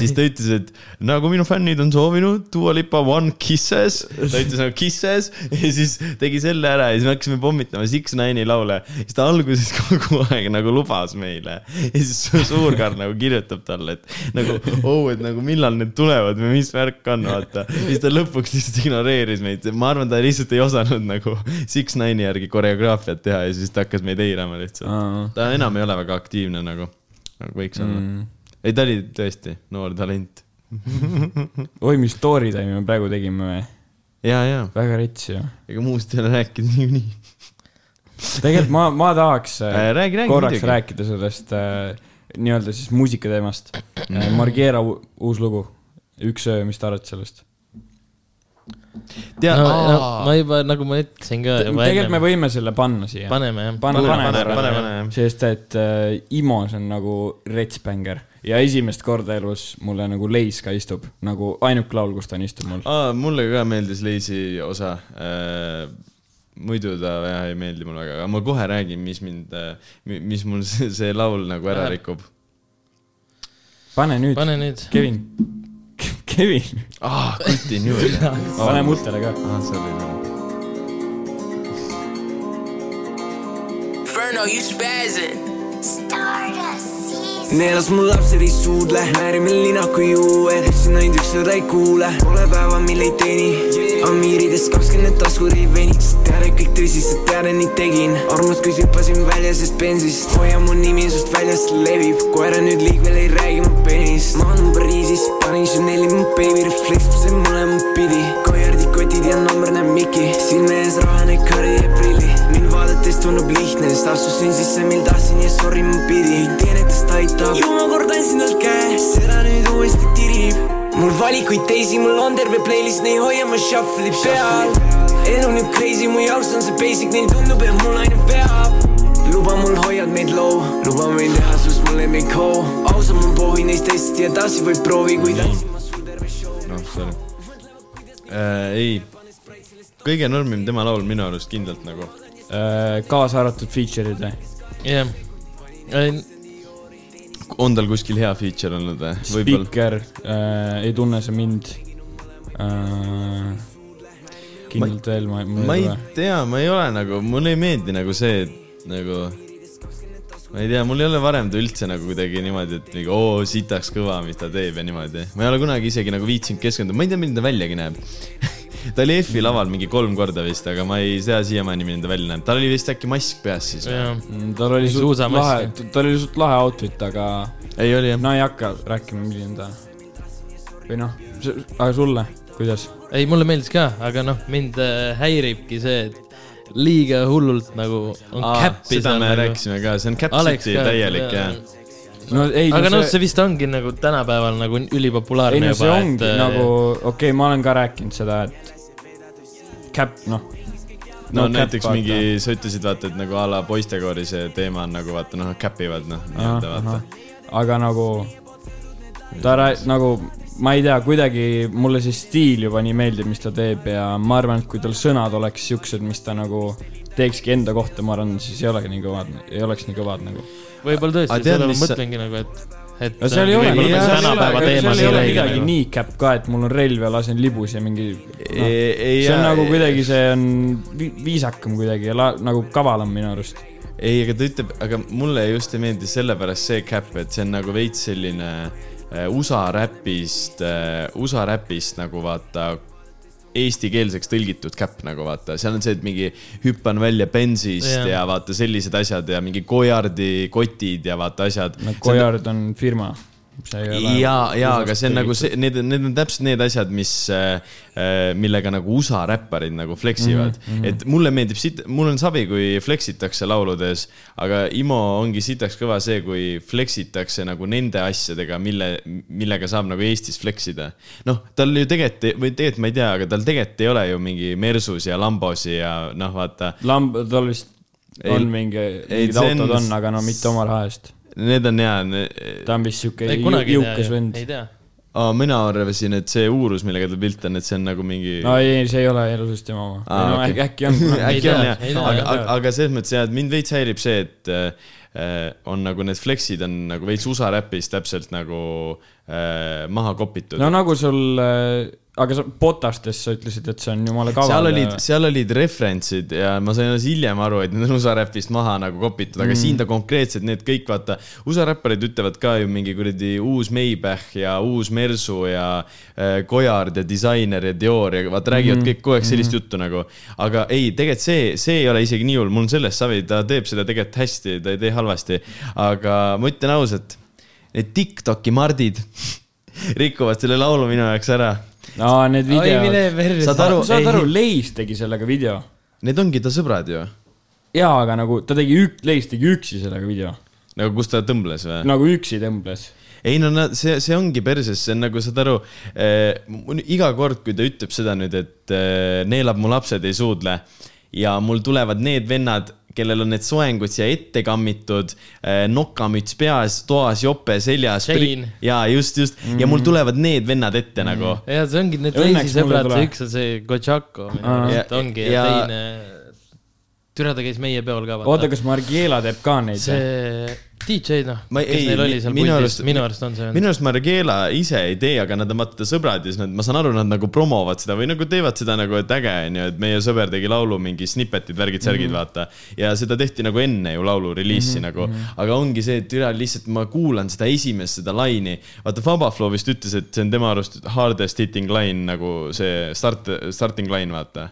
A: siis ta ütles , et nagu minu fännid on soovinud Dua Lipa One Kisses . ta ütles nagu Kisses ja siis tegi selle ära ja siis me hakkasime pommitama Six Nine'i laule . siis ta alguses kogu aeg nagu lubas meile ja siis su- Suurkar nagu kirjutab talle , et nagu oo , et nagu millal need tulevad või mis värk on , vaata . siis ta lõpuks lihtsalt ignoreeris meid , ma arvan , ta lihtsalt ei osanud nagu Six Nine'i järgi koreograafiat teha ja siis ta hakkas meid eirama lihtsalt
B: Mm.
A: ta enam ei ole väga aktiivne nagu , nagu võiks olla mm. . ei , ta oli tõesti noor talent .
B: oi , mis story time'i me praegu tegime või ?
A: ja , ja ,
B: väga rets ju .
A: ega muust ei ole rääkida niikuinii .
B: tegelikult ma , ma tahaks äh,
A: räägi , räägi
B: korraks muidugi. . rääkida sellest äh, nii-öelda siis muusika teemast mm. . Margiera u- uus lugu , Üks öö , mis te arvate sellest ?
A: tea
D: no,
A: no, ,
D: no, ma juba , nagu ma ütlesin ka juba
B: tegelikult me võime selle panna siia .
D: paneme jah .
B: Pane-
A: pane ,
B: paneme
A: pane ,
B: ära.
A: pane , pane , jah .
B: sest et äh, Imos on nagu retsbänger ja esimest korda elus mulle nagu leis ka istub , nagu ainuke laul , kus ta on istunud mul .
A: aa , mulle ka meeldis Leisi osa äh, . muidu ta jah ei meeldi mulle väga , aga ma kohe räägin , mis mind , mis mul see, see laul nagu ära
D: Läheb.
A: rikub .
B: pane nüüd ,
D: pane nüüd .
B: Kevin . Kevin ,
A: aa , nagu- kuti nüüd .
B: pane mutele ka .
A: aa , sorry , sorry .
E: Inferno, you spazzing.
F: neelas mul lapsed ei suudle , määrime linnaku juued , siin ainult ükssada ei kuule , pole päeva , mil ei teeni . Amiirides kakskümmend taskud ei veni , sa tead , et kõik tõsiselt tead , et nii tegin . armus , kui hüppasin välja sest bensist , hoia mu nimi sust väljas levib , koera nüüd liikvel ei räägi mu penist . ma olen Pariisis , panin Chanel'i mu baby refleksib see mõlemat pidi , koerdi kotid ja number näeb Miki , silme ees rahane kari ja prilli , mind vaadates tundub lihtne , sest astusin sisse , mil tahtsin ja sorry ma pidin , teen , et ta seda aitab . ju ma kord andsin talt käe , seda nüüd uuesti e tirib . mul valikuid teisi , mul on terve playlist , neid hoian ma shuffle'i peal . elu nüüd E crazy , mu jaoks on see basic , nii tundub , et mul ainult veab . luba mul hoiad meid low , luba meil teha sinust mu lemmikhoo . ausam on poohi neist teist ja edasi võib proovi , kui tantsin ma sul terve show .
A: noh , sorry äh, . ei , kõige normim tema laul minu arust kindlalt nagu .
B: Äh, kaasa arvatud feature'id või ?
D: jah .
A: on tal kuskil hea feature olnud või ? võib-olla .
B: Speaker , ei tunne sa mind äh, . kindlalt veel ma ,
A: ma ei tea , ma ei ole nagu , mulle ei meeldi nagu see , et nagu ma ei tea , mul ei ole varem ta üldse nagu kuidagi niimoodi , et nagu oo , sitaks kõva , mis ta teeb ja niimoodi . ma ei ole kunagi isegi nagu viitsinud keskenduda , ma ei tea , milline ta väljagi näeb . ta oli EF-i laval mingi kolm korda vist , aga ma ei tea siiamaani , milline ta välja näeb . tal oli vist äkki mask peas siis või ?
D: jah ,
B: tal oli suht
D: Suusamass.
B: lahe , tal oli suht lahe outfit , aga
A: ei , oli jah .
B: no ei hakka rääkima , milline ta või noh , aga sulle , kuidas ?
D: ei mulle meeldis ka , aga noh , mind äh, häiribki see , et liiga hullult nagu on käppi
A: seda me
D: nagu.
A: rääkisime ka , see on Cap
D: Alex
A: City
D: ka,
A: täielik
D: jaa.
A: jah .
B: no ei ,
D: aga noh , see vist ongi nagu tänapäeval nagu
B: ei
D: ülipopulaarne
B: no see
D: juba ,
B: ongi
D: et äh,
B: et, nagu , okei okay, , ma olen ka rääkinud seda , et cap , noh .
A: no näiteks mingi , sa ütlesid vaata , et nagu a la poistekoori see teema on nagu vaata noh , nad käpivad noh , nii-öelda vaata .
B: aga nagu ta rää- , nagu ma ei tea , kuidagi mulle see stiil juba nii meeldib , mis ta teeb ja ma arvan , et kui tal sõnad oleks siuksed , mis ta nagu teekski enda kohta , ma arvan , siis ei olegi nii kõvad , ei oleks nii kõvad nagu .
A: Aga
D: võib-olla tõesti ,
A: tead,
D: seda ma
A: mis sa-
D: mõtlengi nagu , et , et .
B: no seal ei ole ,
A: Võib-olla peaks
D: tänapäeva
B: seal
D: teema
B: ei
D: siin
B: ole
D: räägima
B: midagi
D: nagu.
B: nii cap ka , et mul on relv ja lasen libus ja mingi no, .
A: ei
B: Noh, see on nagu kuidagi , see on vi- viisakam kuidagi ja la- nagu kavalam minu arust .
A: ei , aga ta ütleb , aga mulle just ei meeldi sellepärast see cap , et see on nagu veits selline äh, USA räpist äh, , USA räpist nagu vaata eestikeelseks tõlgitud cap nagu vaata , seal on see , et mingi hüppan välja bensist ja,
D: Jah.
A: ja vaata sellised asjad ja mingi kojardi kotid ja vaata asjad .
B: no Kojard on firma .
A: ja , ja aga see on nagu see , need , need on täpselt need asjad , mis äh, , äh, millega nagu USA räpparid nagu flex ivad mm . -hmm. et mulle meeldib sit- , mul on savi , kui flex itakse lauludes , aga IMO ongi sitaks kõva see , kui flex itakse nagu nende asjadega , mille , millega saab nagu Eestis flex ida . noh , tal ju tegelikult , või tegelikult ma ei tea , aga tal tegelikult ei ole ju mingi Mersus ja Lambosi ja noh , vaata ,
B: lamb , tal vist
A: Ei-
B: on mingi ,
A: ei,
B: mingid
A: see on-
B: autod on , aga no mitte oma raha eest .
A: need on hea ,
B: ta on vist siuke
D: ei
B: ju-
D: kunagi ei
B: jõukas
D: tea ,
B: vend
D: ei . tea .
A: aa , mina arvasin , et see uurus , millega ta pilt on , et see on nagu mingi
B: no ei , see ei ole elusust tema oma .
A: Aa,
B: no
A: okei.
B: äkki , äkki on .
D: Ei
A: äkki
D: tea,
A: on
D: ei
A: jah ,
D: tea,
A: aga
D: ei ,
A: aga , aga selles mõttes jah , et mind veits häirib see , et äh, on nagu need flex'id on nagu veits USA räpis täpselt nagu äh, maha kopitud
B: no
A: no, .
B: nagu sul , aga sa Botastes sa ütlesid , et see on jumala kaval .
A: seal olid , seal olid referentsid ja ma sain alles hiljem aru , et need on USA räpist maha nagu kopitud , aga mm. siin ta konkreetselt need kõik vaata , USA räpparid ütlevad ka ju mingi kuradi uus Maybach ja uus Mersu ja äh, Kojard ja disainer ja Dior ja vaata räägivad mm. kõik kogu aeg sellist mm. juttu nagu . aga ei , tegelikult see , see ei ole isegi nii hull , mul on sellest savi , ta teeb seda tegelikult hästi , ta ei tee halvasti . aga ma ütlen ausalt , need Tiktoki mardid rikuvad selle laulu minu jaoks ära
B: aa , need
D: oi , mine
B: videod .
D: perre .
A: Saad aru-
B: saad
A: ei-
B: aru , Leis tegi sellega video .
A: Need ongi ta sõbrad ju ,
B: jaa , aga nagu ta tegi ük- , Leis tegi üksi sellega video .
A: nagu kus ta tõmbles või ?
B: nagu üksi tõmbles .
A: ei no nad , see , see ongi perses , see on nagu saad aru eh, , iga kord , kui ta ütleb seda nüüd , et eh, neelab mu lapsed ei suudle ja mul tulevad need vennad , kellel on need soengud siia ette kammitud eh, , nokamüts peas , toas jope seljas
D: Shane. .
A: ja just , just mm. ja mul tulevad need vennad ette mm. nagu .
D: ja see ongi need
B: Õnneks
D: teisi
B: mulle
D: sõbrad ,
B: tule.
D: see üks on see Kotšako , minu
B: Aa.
D: arust ongi ja,
A: Ja-
D: ja
A: ja-
D: teine , türa ta käis meie peol ka .
B: oota ,, kas Margiela teeb ka neid ?
D: see DJ noh ,
A: Ma
D: kes
A: ei-
D: neil oli seal
A: minu
D: puldis
A: arust- ,
D: minu arust on see vend .
A: minu arust Margiela ise ei tee , aga nad on vaata sõbrad ja siis nad , ma saan aru , nad nagu promovad seda või nagu teevad seda nagu , et äge on ju , et meie sõber tegi laulu mingi snippetid , värgid-särgid
D: Mhm.
A: mm , -hmm. vaata . ja seda tehti nagu enne ju laulu reliisi mm -hmm.
D: mhm.
A: nagu , aga ongi see , et üle lihtsalt ma kuulan seda esimest , seda laini . vaata Fabaflow vist ütles , et see on tema arust hardest hitting line nagu see start , starting line , vaata .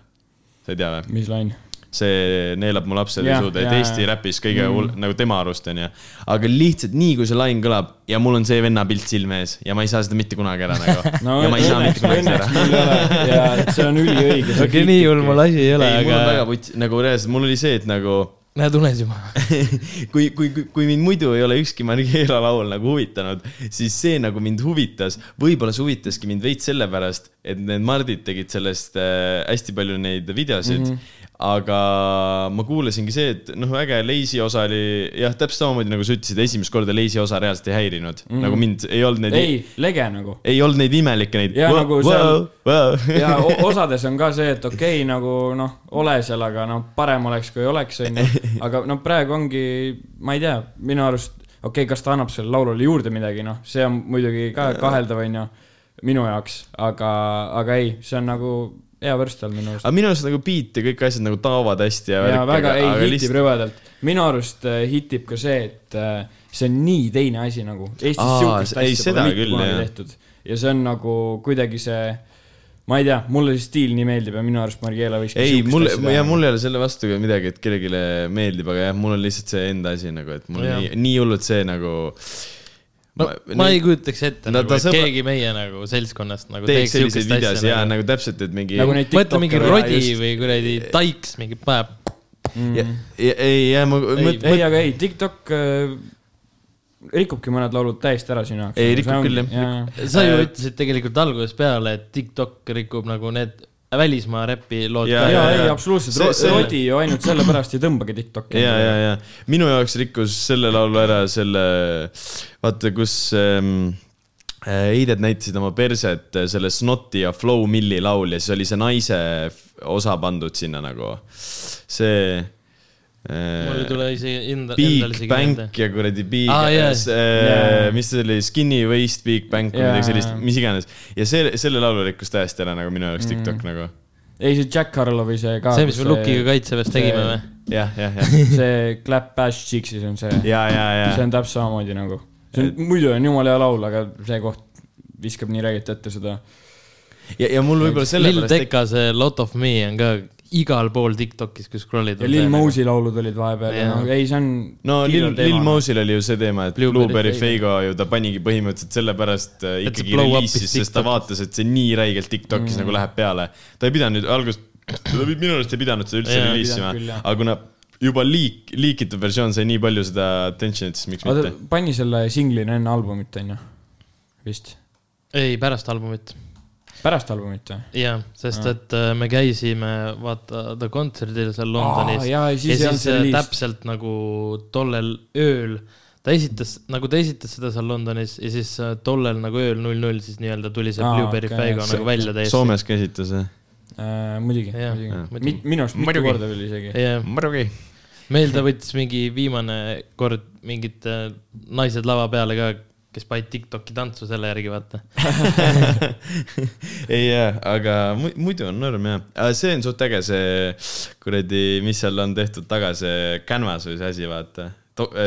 A: sa ei tea või ?
B: mis laine ?
A: see neelab mu lapsele
B: Jah,
A: suuda , et
B: jaa,
A: Eesti
B: jaa. Mhm.
A: räpis kõige hull mm. , nagu tema arust onju . aga lihtsalt nii , kui see lain kõlab ja mul on see venna pilt silme ees ja ma ei saa seda mitte kunagi ära nagu no, . ja ma ei saa mitte kunagi seda ära .
B: ja see on üliõige .
D: okei , nii hull mul asi ei ole ,
A: ei , mul on
D: aga
A: väga . puts- , nagu reaalselt , mul oli see , et nagu
D: näed unes juba .
A: kui , kui , kui mind muidu ei ole ükski Mariela laul nagu huvitanud , siis see nagu mind huvitas , võib-olla see huvitaski mind veits sellepärast , et need Mardid tegid sellest äh, hästi palju neid videosid
B: Mhm.
A: mm . -hmm. aga ma kuulasingi see , et noh , äge Leisi osa oli jah , täpselt samamoodi nagu sa ütlesid , esimest korda Leisi osa reaalselt ei häirinud mm , -hmm. nagu mind ei olnud neid ,
B: Mhm. ei , lege nagu .
A: ei olnud neid imelikke neid .
B: Ja nagu seal- ja
A: seal .
B: o- osades on ka see , et okei okay, , nagu noh , ole seal , aga noh , parem oleks , kui oleks , onju . aga no praegu ongi , ma ei tea , minu arust , okei okay, , kas ta annab sellele laulule juurde midagi , noh , see on muidugi ka kaheldav , onju , minu jaoks , aga , aga ei , see on nagu hea vürst tal minu arust .
A: aga minu arust nagu beat ja kõik asjad nagu taovad hästi ja,
B: ja
A: värk,
B: väga ,
A: aga-
B: ei ,
A: aga
B: hitib
A: lihtsalt-
B: lihtsalt... rõvedalt . minu arust äh, hitib ka see , et äh, see on nii teine asi nagu . Eestis
A: Aa,
B: sihukest
A: ei,
B: asja
A: seda
B: pole mitte
A: küll,
B: kunagi
A: jah.
B: tehtud . ja see on nagu kuidagi see , ma ei tea , mulle see stiil nii meeldib ja minu arust Margiela võiks
A: ei , mul , ja mul ei ole selle vastu ka midagi , et kellelegi meeldib , aga jah , mul on lihtsalt see enda asi nagu , et mul
D: Jah.
A: nii , nii hullult see nagu .
D: ma, ma ei kujutaks ette
A: No
D: nagu, ,
A: ta
D: et
A: sõbra-
D: keegi meie nagu seltskonnast nagu
A: teeks
D: teeks
A: selliseid
D: siukest
A: videosid ja
D: asja .
A: nagu täpselt , et mingi .
B: Nagu neid
D: mõtle mingi
B: TikToker-
D: Rodi
A: jaa, just.
D: või kuradi Taiks mingi paneb ,
A: ei , ja ma ,
B: ei , aga ei , TikTok äh, rikubki mõned laulud täiesti ära sinu jaoks .
A: Ei, rikub küll, jah.
B: jah .
D: sa ju
A: Äh,
D: ütlesid tegelikult algusest peale , et TikTok rikub nagu need välismaa räpi lood
A: Jaa,
D: ka
B: ja
A: jaa, ,
B: ei
A: jaa. ,
B: absoluutselt
A: See- , see-
B: Rodi ju ainult sellepärast ei tõmbagi TikTok'i .
A: ja , ja , ja minu jaoks rikkus selle laulu ära selle , vaata , kus ähm, äh, Heidet näitasid oma perset äh, selle Snoti ja Flow Milli laul ja siis oli see naise f- osa pandud sinna nagu , see äh, .
D: mul ei tule isegi enda , endal
A: Big
D: isegi meelde
A: Bank . ja kuradi Big
D: Aa, jaa.
A: äh,
B: Jaa. ,
A: mis see oli , Skinny Waist Big Bank või
B: Jaa.
A: midagi sellist , mis iganes . ja see , selle laulu rikkus täiesti ära nagu minu
B: Mm.
A: jaoks TikTok nagu .
B: ei , see Jack Harlowi see ka .
D: see , mis me Lukiga kaitseväes tegime või ??
A: jah , jah , jah ,
B: see Clap Bash Cheeks'is on see .
A: ja , ja , ja
B: see . on täpselt samamoodi nagu , see on muidu on jumala hea laul , aga see koht viskab nii räigelt ette seda .
A: ja , ja mul võib-olla
D: Lil
A: sellepärast .
D: Tecca see Lot of me on ka igal pool Tiktokis , kui scroll'id .
B: ja Lil . Mosey laulud olid vahepeal ja
D: Jaa.
B: no ei , see on .
A: no Lil , Lil . Mosil oli ju see teema , et
D: Blueberry
A: Blueberry
D: Faygo.
A: Faygo ju ta panigi põhimõtteliselt sellepärast äh,
D: Et see
A: ikkagi
D: blow up'is
A: reliisis , sest ta
D: TikTokis.
A: vaatas , et see nii räigelt Tiktokis mm. nagu läheb peale . ta ei pidanud algust , minu arust ei pidanud seda üldse
D: Jaa,
A: reliisima
B: pidanud küll, , jah.
A: aga kuna juba liik , liikitud versioon sai nii palju seda attention'it , siis miks
B: oota
A: mitte .,
B: pani selle singlina enne albumit , onju ? vist .
D: ei , pärast albumit .
B: pärast albumit või ?
D: jah , sest
B: Ah.
D: et äh, me käisime , vaata , The Concertil seal Londonis .
B: Ah, jaa, ja siis ei olnud see
D: äh,
B: release.
D: täpselt nagu tollel ööl , ta esitas , nagu ta esitas seda seal Londonis ja siis äh, tollel nagu ööl null null siis nii-öelda tuli see
B: Aa,
D: Blueberry
B: Ah, okei,
D: Faygo
B: see-
D: nagu välja täiesti .
A: Soomes ka esitas või ?
B: Äh, muidugi ,
D: Jaa, jaa.
B: muidugi . minu arust mitu
A: Muidugi.
B: korda veel isegi .
D: jah ,
A: muidugi .
D: meil ta võttis mingi viimane kord mingid äh, naised lava peale ka , kes panid Tiktoki tantsu selle järgi , vaata .
A: ei jaa , aga mu- muidu on norm jah . see on suht äge , see kuradi , mis seal on tehtud taga , see Canvas või see asi , vaata .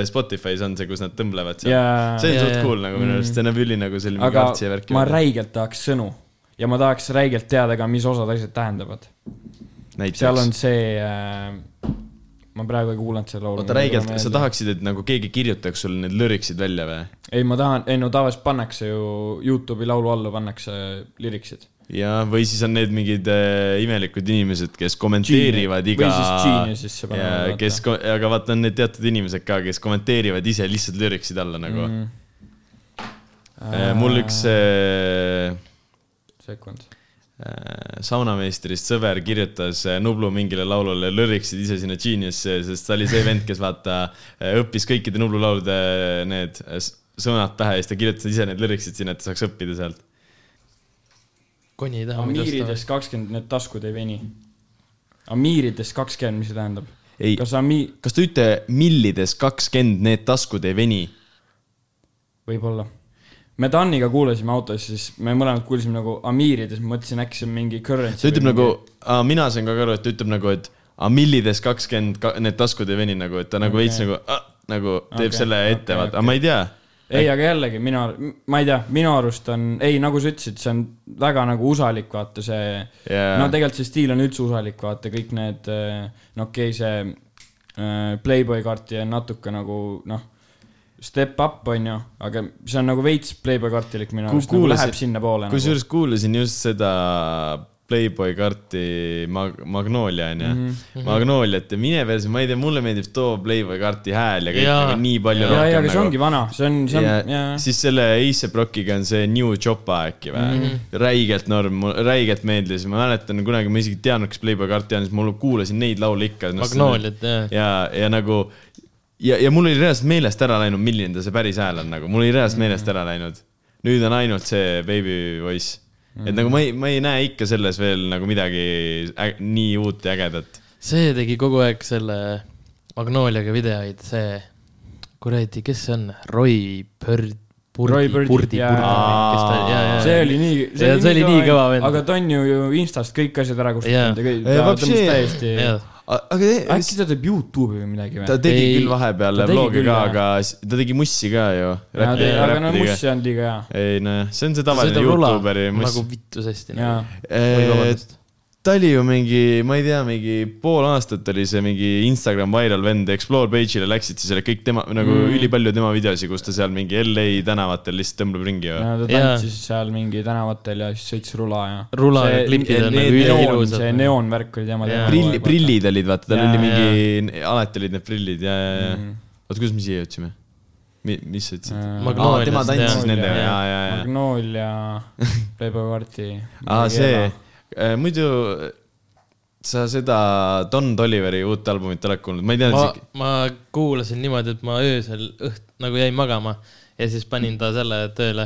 A: Spotify's on see , kus nad tõmblevad seal .
B: Jaa.
A: see on
D: Jaa,
A: suht
D: jaa.
A: cool nagu minu arust , see näeb üli nagu selline mingi
B: aga
A: artsi värk .
B: ma räigelt tahaks sõnu ja ma tahaks räigelt teada ka , mis osad asjad tähendavad . seal on
A: näiteks .
B: see äh, , ma praegu ei kuulanud seda laulu .
A: oota , räigelt , sa tahaksid , et nagu keegi kirjutaks sulle need lüriksid välja või ?
B: ei , ma tahan , ei no tavaliselt pannakse ju Youtube'i laulu alla pannakse liriksid .
A: jaa , või siis on need mingid äh, imelikud inimesed , kes kommenteerivad
B: Geni-
A: iga .
B: või siis Geniusesse panevad, vaata.
A: kes , aga vaata , on need teatud inimesed ka , kes kommenteerivad ise lihtsalt lüriksid alla nagu mm . -hmm. Äh, mul üks äh,
B: sekund .
A: äh, saunameistrist sõber kirjutas äh, Nublu mingile laulule lüriksid ise sinna Geniusse , sest ta oli see vend , kes vaata äh, õppis kõikide Nublu laulude need äh, s- sõnad pähe ja siis ta kirjutas ise need lüriksid sinna , et ta saaks õppida sealt .
D: koni ei taha .
B: Amiirides kakskümmend , need taskud ei veni . Amiirides kakskümmend , mis see tähendab ?
A: ei ,
B: kas Ami- ,
A: kas te ütlete , millides kakskümmend need taskud ei veni ?
B: võib-olla . me Daniga kuulasime autos , siis me mõlemad kuulsime nagu Amiirides , ma mõtlesin , äkki see on mingi currency .
A: see ütleb nagu , mina sain ka aru , et ta ütleb nagu , et aga millides kakskümmend need taskud ei veni nagu , et ta nagu veits nagu , nagu teeb
B: Okei,
A: selle ette
B: okei, ,
A: vaata , aga ma ei tea .
B: ei , aga jällegi mina , ma ei tea , minu arust on , ei , nagu sa ütlesid , see on väga nagu usalik , vaata see
A: Jaa.
B: no tegelikult see stiil on üldse usalik , vaata kõik need , no okei okay, , see äh, Playboy karti on natuke nagu noh , step up on ju , aga see on nagu veits Playboy kartilik minu arust , nagu läheb sinnapoole nagu .
A: kusjuures kuulasin just seda Playboy karti Mag- , Magnolia
B: Mhm,
A: onju . Magnoliat ja mine perse , ma ei tea , mulle meeldib too Playboy karti hääl ja kõik
D: Jaa.
A: nagu nii palju
B: ja , ja ,
A: rohkem
B: aga see ongi vana , see on , see on ,
A: ja
B: jaa .
A: siis selle A$AP Rockiga on see New Chopa äkki või mm
B: Mhm.
A: -hmm. , räigelt norm , räigelt meeldis , ma mäletan kunagi ma isegi ei teadnud , kas Playboy karti on , siis ma kuulasin neid laule ikka . noh,
D: Magnoliat, jah.
A: ja , ja nagu ja , ja mul oli reaalselt meelest ära läinud , milline ta see päris hääl on nagu , mul oli reaalselt meelest ära läinud . nüüd on ainult see baby voice , et nagu ma ei , ma ei näe ikka selles veel nagu midagi äg, nii uut ja ägedat .
D: see tegi kogu aeg selle Magnoliaga videoid , see , kuradi , kes see on , Roy Bird ,
B: Roy
D: Burdi ,
B: Bird,
D: Burdi , Burdi ,
B: jaa.
D: kes ta , ja , ja .
B: see oli nii ,
D: ja see oli nii kõva
B: aga
D: vend .
B: ta on ju ju Instast kõik asjad ära kustutanud ja
D: Jaa.
B: kõik ,
A: Ei,
B: ta
A: vapsi.
B: tõmbas täiesti .
A: aga
B: äkki ta teeb Youtube'i või midagi
A: ta
B: või ?
A: tegi ei,
D: Ei,
A: küll vahepeal
B: ta tegi
A: vloogi
B: küll,
A: ka ,
B: jah.
A: aga s- ta tegi mussi ka ju .
B: aga no Muss ei olnud liiga hea .
A: ei nojah , see on see tavaline Youtuberi muss
D: nagu . vittus hästi .
B: jaa ,
D: Oi, vabandust.
A: ta oli ju mingi , ma ei tea , mingi pool aastat oli see mingi Instagram viral vend , Explore page'ile läksid siis olid kõik tema nagu mm. ülipalju tema videosi , kus ta seal mingi LA tänavatel lihtsalt tõmbleb ringi ju .
B: ta
D: Jaa.
B: tantsis seal mingi tänavatel ja siis sõits rula ja .
D: Rula ja klipid on nagu üliilusad.
B: see neoonvärk oli tema
D: Jaa.
B: teema .
A: prill , prillid olid , vaata , tal
B: Jaa,
A: oli mingi , alati olid need prillid ja , ja , ja . oota , kuidas me siia jõudsime ? mi- , mis sa ütlesid ?
B: Äh,
A: aa ,
D: Magnoliast,
A: tema tantsis
D: jaa.
A: nendega , ja , ja , ja .
B: Magnolia , Playboy Party .
A: aa , Ah, see , muidu äh, sa seda Don Oliveri uut albumit oled kuulnud , ma ei
D: ma
A: teadnud ,
D: ma kuulasin niimoodi , et ma öösel õht- , nagu jäin magama ja siis panin ta selle tööle .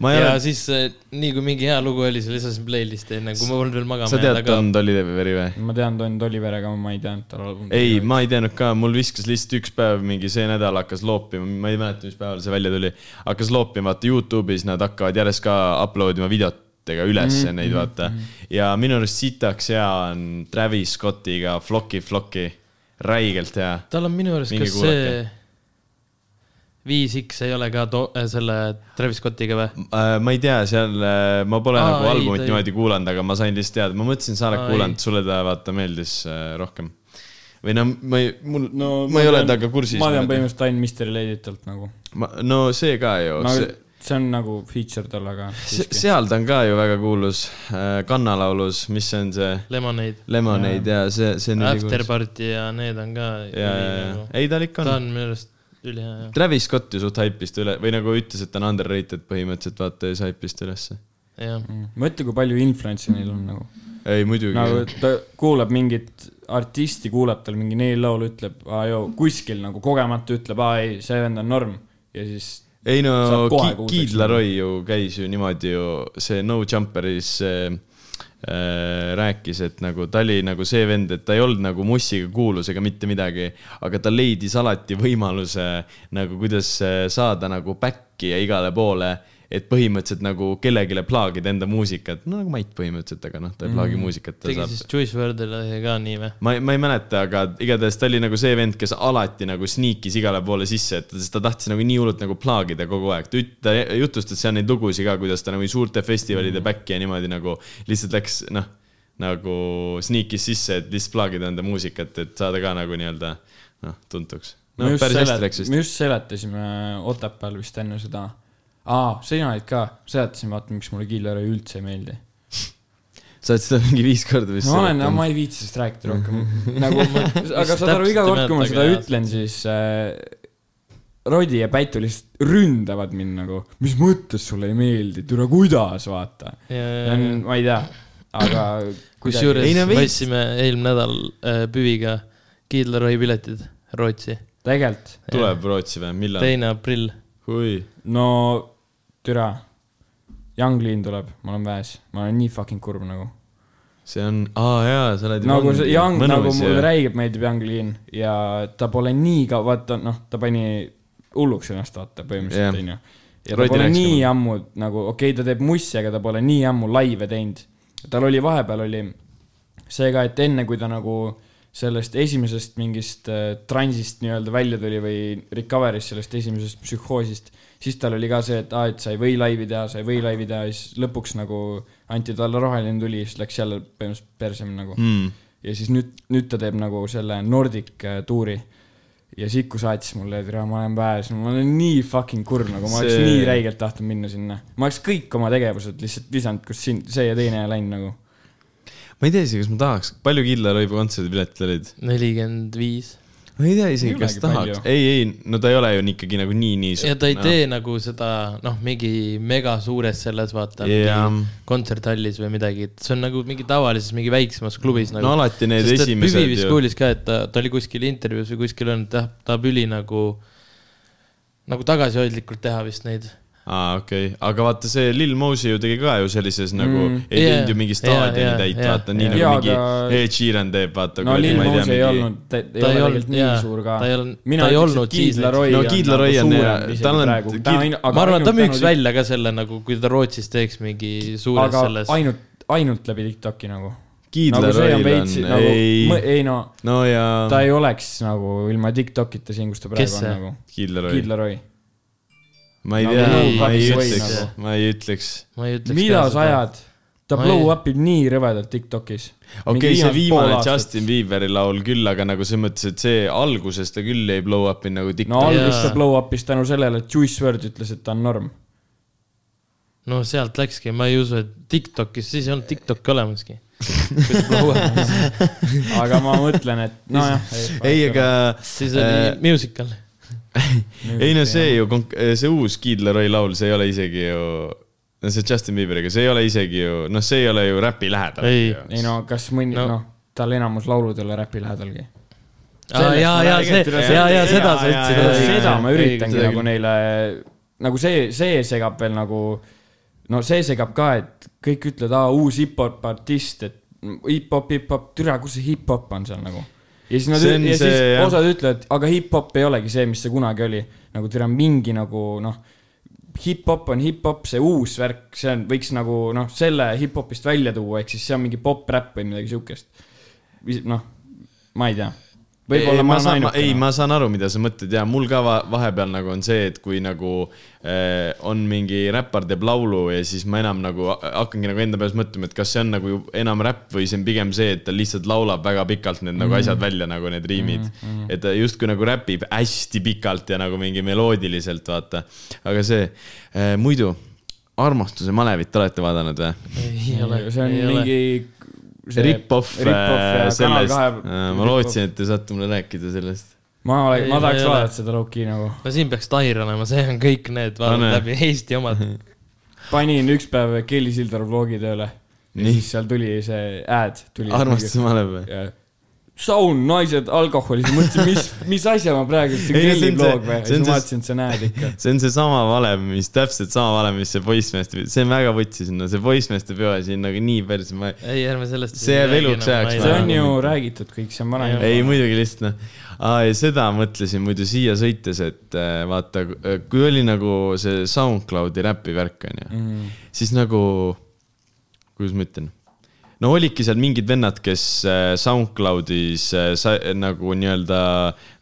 A: Ma
D: ja
A: ei
D: ole...
A: ole-
D: siis äh, nii kui mingi hea lugu oli , siis lisasin playlist'i enne , kui ma polnud veel magama
A: sa tead Don Oliveri või ?
B: ma tean Don Toliver , aga ma Mm, ei teadnud tal albumit .
A: ei , ma ei teadnud ka , mul viskas lihtsalt üks päev mingi see nädal hakkas loopima , ma ei mäleta , mis päeval see välja tuli , hakkas loopima , vaata Youtube'is nad hakkavad järjest ka upload ima videotega ülesse mm -hmm. neid vaata . ja minu arust sitaks hea on Travis Scottiga Floki Floki , räigelt hea .
D: tal on minu arust ,
A: Minge
D: kas
A: kuulake.
D: see viis X ei ole ka to- , äh, selle Travis Scottiga või ?
A: Äh, ma ei tea , seal , ma pole Aa,
D: Aa,
A: nagu
D: ei,
A: albumit
D: ta
A: ei,
D: ei-
A: niimoodi kuulanud , aga ma sain lihtsalt teada , ma mõtlesin , sa oled
D: Aa,
A: kuulanud ,
D: ei.
A: sulle ta vaata meeldis äh, rohkem . või no ma ei , mul no, , ma ei ole temaga kursis .
B: ma tean . põhimõtteliselt ainult Mystery Lady'telt nagu .
A: no see ka ju
B: no
A: no, ,
B: see on nagu feature tal , aga
A: see,
B: siiski .
A: seal ta on ka ju väga kuulus äh, , kannalaulus , mis see on see ,
D: Lemonade ,
A: Lemonade ja, ja see , see on
D: After . Party ja need on ka .
A: ja , ja , ja , ei tal ikka
D: ta
A: on .
D: on minu arust ülihea jah.
A: Travis Scott ju suht haipis ta üle või nagu ütles , et ta on underrated põhimõtteliselt , vaata ja siis haipis ta ülesse .
D: jah .
A: Mm,
B: mõtle , kui palju influence'i neil on nagu .
A: ei muidugi
B: nagu
A: no, .
B: ta kuulab mingit artisti , kuulab tal mingi neil laul , ütleb , aa joo , kuskil nagu kogemata ütleb , aa ei , see vend on norm . ja siis
A: ei no
B: Saab kohe , kuulsaks.
A: Kid Laroi ju käis ju niimoodi ju , see No Jumperis äh, äh, rääkis , et nagu ta oli nagu see vend , et ta ei olnud nagu Mussiga kuulus ega mitte midagi , aga ta leidis alati võimaluse nagu kuidas äh, saada nagu back'i ja igale poole , et põhimõtteliselt nagu kellelegi plaagida enda muusikat , no nagu Mait põhimõtteliselt , aga noh , ta ei
B: Mm.
A: plaagi muusikat , ta
D: tegi
A: saab
D: siis Juice WRLD-ile ka nii või ?
A: ma ei , ma ei mäleta , aga igatahes ta oli nagu see vend , kes alati nagu sniikis igale poole sisse , et ta- ta tahtis nagu nii hullult nagu plaagida kogu aeg . ta üt- , ta jutustas seal neid lugusid ka , kuidas ta nagu suurte festivalide
B: Mhm.
A: back'i ja niimoodi nagu lihtsalt läks , noh , nagu sniikis sisse , et lihtsalt plaagida enda muusikat , et saada ka nagu nii-öelda , noh , tuntuks .
B: no,
A: no
B: me just
A: päris hästi
B: selet-
A: läks , vist .
B: me just seletasime Otepääl vist enne seda . aa , sina olid ka , seletasin , vaata , miks mulle Killer üldse ei meeldi .
A: sa oled seda mingi viis korda vist .
B: no ma olen , ma ei viitsi sellest rääkida rohkem , nagu ma , aga saad aru ,
D: täpselt
B: iga
D: ei
B: kord , kui ma
D: mäleta,
B: seda
D: aga jah.
B: ütlen , siis äh, Rodi ja Pätu lihtsalt ründavad mind nagu , mis mõttes sulle ei meeldi , türa kuidas , vaata .
D: ja , ja ,
B: Mm, ma ei tea , aga
D: kusjuures
A: Ei no veits.
D: võtsime eelmine nädal äh, Püviga Kiidleroi piletid Rootsi ,
B: tegelikult ,
A: tuleb Rootsi või , millal ?
D: teine aprill .
A: oi ,
B: no türa , Young Lean tuleb , ma olen väes , ma olen nii fucking kurb nagu
A: see on , aa jaa , sa oled .
B: nagu see Young , nagu mulle räigelt meeldib Young Lean ja ta pole nii kaua , vaata noh , ta pani hulluks ennast vaata põhimõtteliselt
A: Jah.
B: onju yeah. . ja ta
A: Roidi
B: pole
A: läks
B: nii
A: niimoodi.
B: ammu nagu , okei okay, , ta teeb mussi , aga ta pole nii ammu laive teinud . tal oli vahepeal oli see ka , et enne kui ta nagu sellest esimesest mingist äh, transist nii-öelda välja tuli või recovery'st sellest esimesest psühhoosist , siis tal oli ka see , et aa , et sa ei või laivi teha , sa ei või laivi teha ja siis lõpuks nagu anti talle roheline tuli , siis läks jälle põhimõtteliselt persem nagu
A: mm. .
B: ja siis nüüd , nüüd ta teeb nagu selle Nordic äh, tuuri . ja Siku saatis mulle , et jaa, ma olen väes , ma olen nii fucking kurb , nagu ma oleks
A: See-
B: nii räigelt tahtnud minna sinna . ma oleks kõik oma tegevused lihtsalt lisanud , kus siin see ja teine ja läinud nagu .
A: ma ei tea isegi , kas ma tahaks , palju Killa Loiba kontserdipiletid olid ?
D: nelikümmend viis .
A: ma ei tea isegi ,
B: Ei
A: kas
B: olegi
A: tahaks ,
B: palju.
A: ei , ei , no ta ei ole ju ikkagi nagu nii , nii
D: ja ta ei tee nagu seda , noh , mingi mega suures selles vaata
A: Jah.
D: yeah. , kontserthallis või midagi , et see on nagu mingi tavalises , mingi väiksemas klubis nagu .
A: no alati need
D: Sest et Püvi
A: esimesed
D: vist
A: ju .
D: kuulis ka , et ta , ta oli kuskil intervjuus või kuskil olnud , ta , tahab üli nagu , nagu tagasihoidlikult teha vist neid .
A: aa , okei okay. , aga vaata see Lil Mosey ju tegi ka ju sellises nagu mm,
B: Mm. ,
A: ei
D: Jaa,
A: teinud ju mingi
D: jaa,
A: staadioni
D: jaa,
A: täit ,
D: jaa,
A: vaata nii
D: jaa.
A: nagu
B: Jaa,
A: mingi
B: aga-
A: Ed Sheeran teeb , vaata .
B: no Lil Mos ei olnud , ta ei
D: ta ei
B: ole
D: olnud
B: tegelikult nii
D: jaa,
B: suur ka
D: ta . ei olnud ,
B: mina
D: ta ei
B: ütleks , et
D: olnud siis
B: Kiidla . Roy
A: No
B: on
A: Kiidla Roy on
B: nagu
A: ja
B: suurem
A: tal on-
B: isegi praegu .
A: Kiid-
D: ma arvan , et ta müüks välja ka selle nagu , kui ta Rootsis teeks mingi suures
B: aga
D: selles .
B: ainult , ainult läbi TikToki nagu .
A: Kiidla
B: nagu see on
A: roll
B: veits
A: on ,
B: nagu ,
A: ei ,
B: ei no ,
A: no jaa .
B: ta ei oleks nagu ilma TikTokita siin , kus ta
D: Kes
B: praegu on
D: see?
B: nagu .
A: Killa Roy .
B: Kiidla Roy .
A: ma ei
B: No
A: tea
D: ei, ,
A: ma ei
D: ei
A: ütleks
D: nagu. ,
A: ma ei ütleks .
D: ma ei ütleks .
B: mida sa ? ajad ? ta
D: Ma ei-
B: blow up ib nii rõvedalt Tiktokis .
A: okei , see viimane Justin Bieberi laul küll , aga nagu selles mõttes , et see alguses ta küll ei blow up'i nagu
B: no
A: TikTok'i no, .
B: alguses
D: Jaa.
B: ta blow up'is tänu sellele , et Juice WRLD ütles , et ta on norm .
D: no sealt läkski , ma ei usu , et Tiktokis , siis ei olnud Tiktok olemaski . siis
B: aga ma mõtlen , et nojah .
A: ei , aga Äh,
D: oli musical .
A: ei no see ju , see uus Kid Laroi laul , see ei ole isegi ju , no see Justin Bieberiga , see ei ole isegi ju , noh , see ei ole ju räpi lähedal .
D: Ei.
B: ei no kas mõni ,
D: No.
B: noh , tal enamus laulud ei ole räpi lähedalgi .
D: aa , ja , ja see , ja , ja seda sa ütlesid .
B: seda ma üritangi
A: seda
B: nagu
A: küll.
B: neile , nagu see , see segab veel nagu , no see segab ka , et kõik ütlevad , aa , uus hip-hop artist , et hip-hop , hip-hop , türa , kus see hip-hop on seal nagu . ja siis nad ,
A: See on
B: ja
A: see,
B: siis
A: jah.
B: osad ütlevad , aga hip-hop ei olegi see , mis see kunagi oli , nagu türa mingi nagu noh , hip-hop on hip-hop , see uus värk , see on , võiks nagu noh , selle hip-hopist välja tuua , ehk siis see on mingi pop-räpp või midagi siukest . noh , ma ei tea . võib-olla ma olen ainuke .
A: ei , ma saan aru , mida sa mõtled ja mul ka va- vahepeal nagu on see , et kui nagu äh, on mingi räppar teeb laulu ja siis ma enam nagu ha- hakkangi nagu enda peas mõtlema , et kas see on nagu ju- enam räpp või see on pigem see , et ta lihtsalt laulab väga pikalt need
B: Mm.
A: nagu asjad välja , nagu need riimid . et ta justkui nagu räpib hästi pikalt ja nagu mingi meloodiliselt , vaata . aga see äh, muidu , armastuse malevit olete vaadanud või ?
D: ei ole ,
B: see on
D: ei ole .
B: mingi .
A: Rip-off äh, sellest , ma lootsin , et
B: et .
A: te saate mulle rääkida sellest .
B: ma
D: Ei,
B: oleks , ma
D: ma ei
B: tahaks
D: ole.
B: vaadata seda Loki nagu .
D: no siin peaks Tair olema , see on kõik need , vaatad
A: Pane.
D: läbi Eesti omad .
B: panin üks päev Kelly Sildaru vlogi tööle . ja
A: Nii.
B: siis seal tuli see ad tuli .
A: armastuse malev või ?
B: saun , naised , alkohol , siis mõtlesin , mis , mis asja ma praegu , see on
A: Ei, no see
B: Kelly
A: on see-
B: vlog või ?
A: see
B: siis
A: on
B: ma
A: see-
B: vaatasin , et see on ad ikka .
A: see on seesama valem , mis täpselt sama valem , mis see poissmeeste , see on väga vutsi sinna , see poissmeeste peo asi on nagu nii päris , ma
D: ei , ärme sellest .
A: See jääb eluks ajaks
B: see on ju räägitud kõik , see on vana
D: Jah.
B: info .
A: ei muidugi lihtsalt noh . aa ja seda mõtlesin muidu siia sõites , et äh, vaata , kui oli nagu see SoundCloudi räpi värk onju mm , -hmm. siis nagu , kuidas ma ütlen no olidki seal mingid vennad , kes äh, SoundCloudis äh, sa, nagu nii-öelda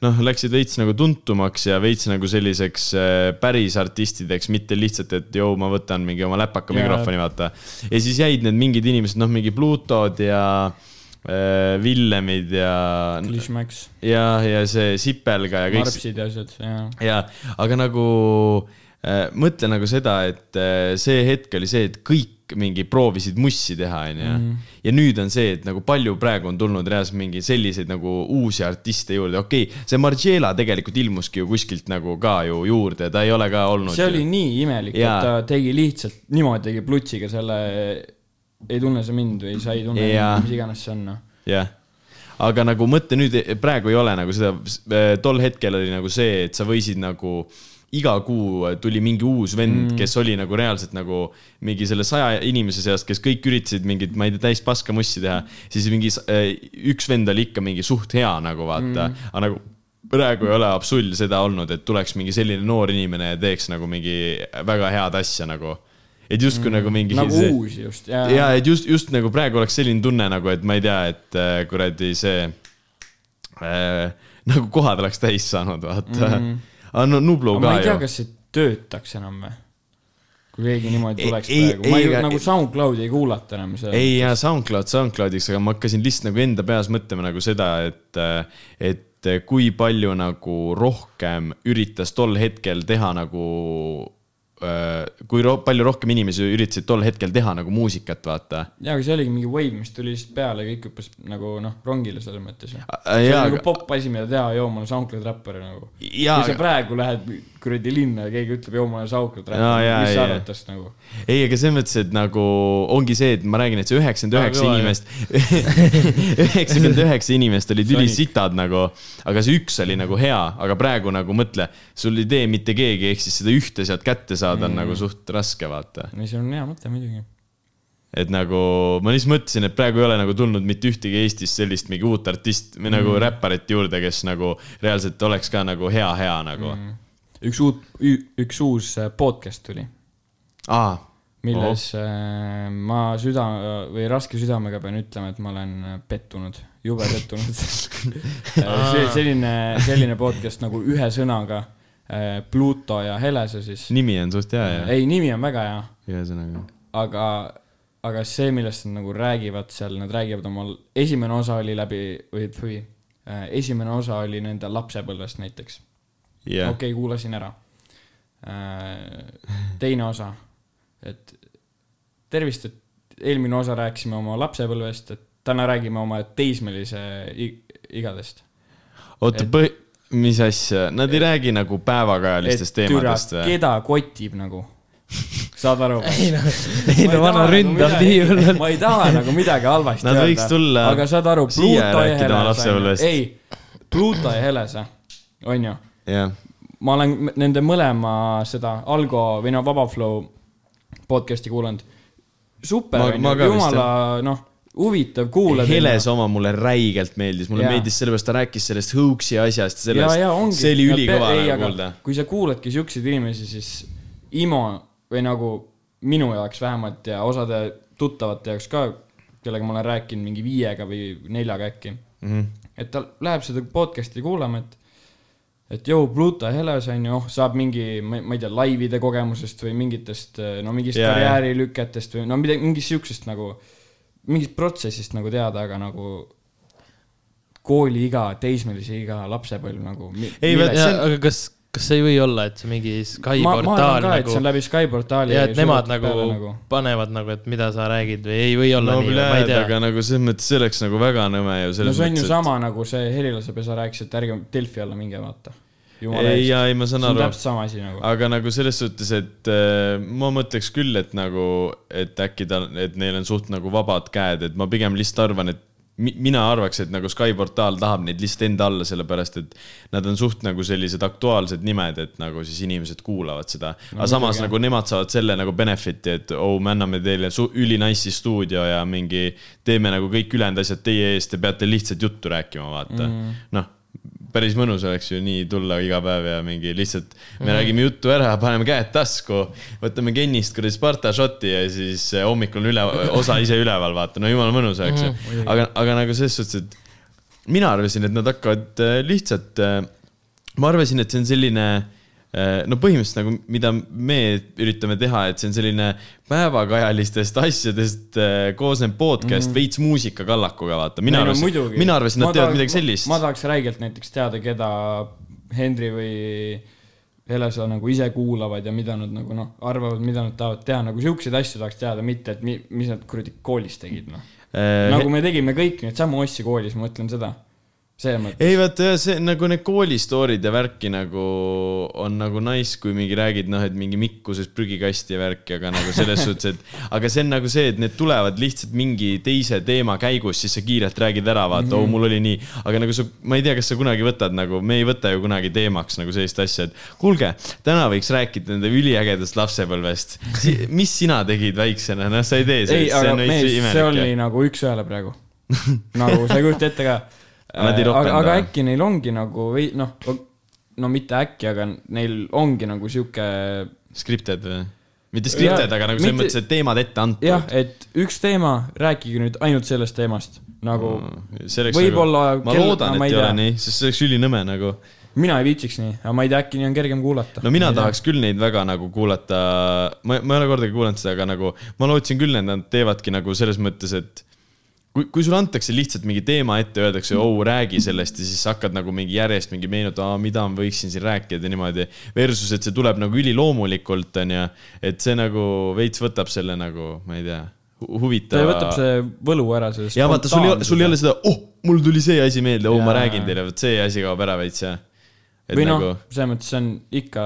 A: noh , läksid veits nagu tuntumaks ja veits nagu selliseks äh, päris artistideks , mitte lihtsalt , et joo , ma võtan mingi oma läpaka
B: Jaa.
A: mikrofoni , vaata . ja siis jäid need mingid inimesed , noh , mingi Plutod ja äh, Villemid ja ,
B: Klishmax ,
A: ja , ja see Sipelga ja kõik .
B: Marpsid ja asjad , jaa .
A: ja , aga nagu äh, mõtle nagu seda , et äh, see hetk oli see , et kõik mingi proovisid mussi teha ,
B: Mhm.
A: onju . ja nüüd on see , et nagu palju praegu on tulnud reaalselt mingi selliseid nagu uusi artiste juurde , okei okay, , see Margiela tegelikult ilmuski ju kuskilt nagu ka ju juurde , ta ei ole ka olnud .
B: see oli nii imelik , et
A: Jaa.
B: ta tegi lihtsalt niimoodi , tegi plutsiga selle , ei tunne sa mind või sa ei tunne
A: Jaa.
B: mind , mis iganes see on , noh .
A: jah , aga nagu mõtle nüüd , praegu ei ole nagu seda , tol hetkel oli nagu see , et sa võisid nagu iga kuu tuli mingi uus vend mm. , kes oli nagu reaalselt nagu mingi selle saja inimese seast , kes kõik üritasid mingit , ma ei tea , täis paska mussi teha , siis mingi s- äh, üks vend oli ikka mingi suht hea nagu vaata mm. , aga nagu praegu ei ole absull seda olnud , et tuleks mingi selline noor inimene ja teeks nagu mingi väga head asja nagu . et justkui mm. nagu mingi .
B: nagu see... uus just , jaa .
A: ja et just , just nagu praegu oleks selline tunne nagu , et ma ei tea , et äh, kuradi see äh, nagu kohad oleks täis saanud , vaata mm . -hmm. aga no Nublu
B: Mhm.
A: ka
B: aga ma ei tea ,
A: ju .
B: kas see töötaks enam või ? kui keegi niimoodi
A: Ei-
B: tuleks
A: E- ei-
B: ei, praegu , ma
A: ei,
B: ei,
A: aga-
B: ei nagu SoundCloudi ei kuulata enam seda .
A: ei ja SoundCloud SoundCloudiks , aga ma hakkasin lihtsalt nagu enda peas mõtlema nagu seda , et , et äh, kui palju nagu rohkem üritas tol hetkel teha nagu kui ro palju rohkem inimesi üritasid tol hetkel teha nagu muusikat , vaata .
B: jaa , aga see oligi mingi wave , mis tuli lihtsalt peale , kõik hüppas nagu noh , rongile selles mõttes ju .
A: Ä-
B: see
A: jaa,
B: on nagu
A: aga-
B: popp asi , mida teha , joo , ma olen SoundCloud räppar nagu . kui
A: jaa ,
B: sa praegu lähed kuradi linna ja keegi ütleb , joo , ma olen SoundCloud
A: Jaa,
B: räppar ,
A: jaa,
B: mis sa
A: jaa.
B: arvad tast nagu ?
A: ei , aga selles mõtes , et nagu ongi see , et ma räägin , et see üheksakümmend üheksa
D: Aa,
A: inimest , üheksakümmend üheksa inimest olid ülisitad nagu , aga see üks oli nagu hea , aga praegu nagu mõtle , sul ei tee mitte keegi , ehk siis seda ühte sealt kätte saada on nagu suht raske , vaata .
B: no see on hea mõte muidugi .
A: et nagu ma lihtsalt mõtlesin , et praegu ei ole nagu tulnud mitte ühtegi Eestis sellist mingi uut artist või nagu räpparit juurde , kes nagu reaalselt oleks ka nagu hea , hea nagu mm. .
B: üks uut , üks uus äh, podcast tuli ,
A: aa ,
B: milles äh, ma süda või raske südamega pean ütlema , et ma olen äh, pettunud , jube pettunud . see selline , selline podcast nagu ühe sõnaga äh, Pluto ja Helese siis .
A: nimi on suht hea ja ,
B: ei , nimi on väga hea
A: ühesõnaga .
B: aga , aga see , millest nad nagu räägivad seal , nad räägivad oma , esimene osa oli läbi või , või äh, esimene osa oli nende lapsepõlvest näiteks . okei
A: jah ,
B: okay, , kuulasin ära äh, . teine osa , et tervist , et eelmine osa rääkisime oma lapsepõlvest , et täna räägime oma teismelise i- igadest .
A: oota , põhi- , mis asja , nad ei räägi nagu päevakajalistest teemadest või ?
B: keda kotib nagu , saad aru ?
D: ei noh , ei no vana ründ on nii hull
B: nagu ma ei taha nagu midagi halvasti
A: Nad võiks tulla
B: aga saad aru ,
A: siia ja
B: Pluto ja
A: rääkida oma
B: Helese
A: lapsepõlvest. ,
B: ei , Pluto ja Helese , onju .
A: jah ,
B: ma olen m- nende mõlema seda Algo või no Vaba Flow podcast'i kuulanud . super
A: Ma- , ma ka
B: onju ,
A: vist,
B: jumala noh , huvitav kuulad .
A: Heles oma mulle räigelt meeldis , mulle
B: Jaa.
A: meeldis sellepärast , ta rääkis sellest hõuksi asjast , sellest , see oli ülikõva nagu kuulda .
B: kui sa kuuladki siukseid inimesi , siis IMO või nagu minu jaoks vähemalt ja osade tuttavate jaoks ka , kellega ma olen rääkinud mingi viiega või neljaga äkki mm .
A: Mhm.
B: -hmm. et ta läheb seda podcast'i kuulama , et , et jõu , Pluto Heles on ju , oh , saab mingi , ma ma ei tea , laivide kogemusest või mingitest , no mingist
A: Jaa, jaa.
B: karjäärilüketest või no midagi , mingist siuksest nagu , mingist protsessist nagu teada , aga nagu kooliiga , teismelise iga , lapsepõlv nagu .
A: Ei, vaat-
D: jaa , aga kas , kas see ei või olla , et see mingi Sky
B: ma , ma arvan
D: portaal
B: ka , et see on
D: nagu
B: läbi Sky portaali .
D: ja et nemad nagu, nagu panevad nagu , et mida sa räägid või ei või olla
A: no
D: no, nii , ma ei
A: näed ,
D: tea .
A: aga nagu selles mõttes , see oleks nagu väga nõme ju
B: no
A: selles
B: see on ju
A: mõttes ,
B: sama nagu see Helilasepesa rääkis , et ärge Delfi alla minge vaata .
A: et ei , ja ei , ma
B: see
A: saan
B: on
A: aru ,
B: täpselt sama asi nagu .
A: aga nagu selles suhtes , et äh, ma mõtleks küll , et nagu , et äkki ta , et neil on suht nagu vabad käed , et ma pigem lihtsalt arvan , et mi- mina arvaks , et nagu Sky portaal tahab neid lihtsalt enda alla , sellepärast et nad on suht nagu sellised aktuaalsed nimed , et nagu siis inimesed kuulavad seda no, . aga samas nagu nemad saavad selle nagu benefit'i , et oh , me anname teile su- üli nice'i stuudio ja mingi teeme nagu kõik ülejäänud asjad teie eest , te peate lihtsalt juttu rääkima , vaata mm. . noh , päris mõnus oleks ju nii tulla iga päev ja mingi lihtsalt , me
B: Mhm.
A: mm. räägime juttu ära , paneme käed tasku , võtame Kennist kuradi Sparta šoti ja siis eh, hommikul on üle , osa ise üleval , vaata , no jumala mõnus oleks
B: Mhm.
A: ju mm. . aga , aga nagu selles suhtes , et mina arvasin , et nad hakkavad äh, lihtsalt , ma arvasin , et see on selline äh, no põhimõtteliselt nagu , mida me üritame teha , et see on selline päevakajalistest asjadest äh, koosnev podcast mm. veits muusikakallakuga , vaata . mina
B: Mhm. Ei no
A: arvasin ,
B: muidugi.
A: mina arvasin ,
B: Ma
A: nad teevad
B: tahaks-
A: midagi sellist
B: ma ma tahaks räigelt näiteks teada , keda Henri või Helesa nagu ise kuulavad ja mida nad nagu noh , arvavad , mida nad tahavad teha , nagu siukseid asju tahaks teada , mitte et mi, mis nad kuradi koolis tegid , noh .
A: Äh,
B: nagu me tegime kõik neid samu asju koolis , ma mõtlen seda . see mõte .
A: ei vaata , see nagu need kooli story'd ja värki nagu on nagu nice , kui mingi räägid , noh , et mingi Mikkuses prügikasti ja värki , aga nagu selles suhtes , et aga see on nagu see , et need tulevad lihtsalt mingi teise teema käigus , siis sa kiirelt räägid ära , vaata mm ,
B: Mhm.
A: -hmm. oh , mul oli nii . aga nagu sa , ma ei tea , kas sa kunagi võtad nagu , me ei võta ju kunagi teemaks nagu sellist asja , et kuulge , täna võiks rääkida nende üliägedast lapsepõlvest si . mis sina tegid väiksena , noh , sa ei tee
B: ei ,
A: sellist , see
B: aga
A: on
B: mees
A: veits ,
B: see
A: imelik
B: oli . nagu üks-ühele praegu . nagu sa ei kujuta ette ka .
A: Nad ei
B: aga ,
A: ropenda.
B: aga äkki neil ongi nagu või noh , no mitte äkki , aga neil ongi nagu sihuke
A: Scripted või ? mitte scripted , aga nagu selles
B: mitte-
A: mõttes , et teemad ette antud .
B: jah , et üks teema , rääkige nüüd ainult sellest teemast , nagu mm,
A: see oleks
B: Võib-olla
A: nagu, ma
B: kell-
A: loodan ,
B: no ma
A: et
B: ei
A: ei ole
B: tea.
A: nii , sest see oleks ülinõme nagu .
B: mina ei viitsiks nii , aga ma ei tea , äkki nii on kergem kuulata .
A: no mina tahaks küll neid väga nagu kuulata , ma , ma ei ole kordagi kuulanud seda , aga nagu ma lootsin küll , et nad teevadki nagu selles mõttes , et kui , kui sulle antakse lihtsalt mingi teema ette , öeldakse , oo , räägi sellest ja siis sa hakkad nagu mingi järjest mingi meenutama , mida ma võiksin siin rääkida ja niimoodi . Versus , et see tuleb nagu üliloomulikult , onju . et see nagu veits võtab selle nagu , ma ei tea ,
B: ta
A: huvitava .
B: võtab see võlu ära , see .
A: ja vaata , sul ei ole , sul ei ole seda , oh , mul tuli see asi meelde , oo , ma
B: Jaa.
A: räägin teile , vot see asi kaob ära veits ja . et
B: või noh
A: nagu ,
B: selles mõttes see on ikka ,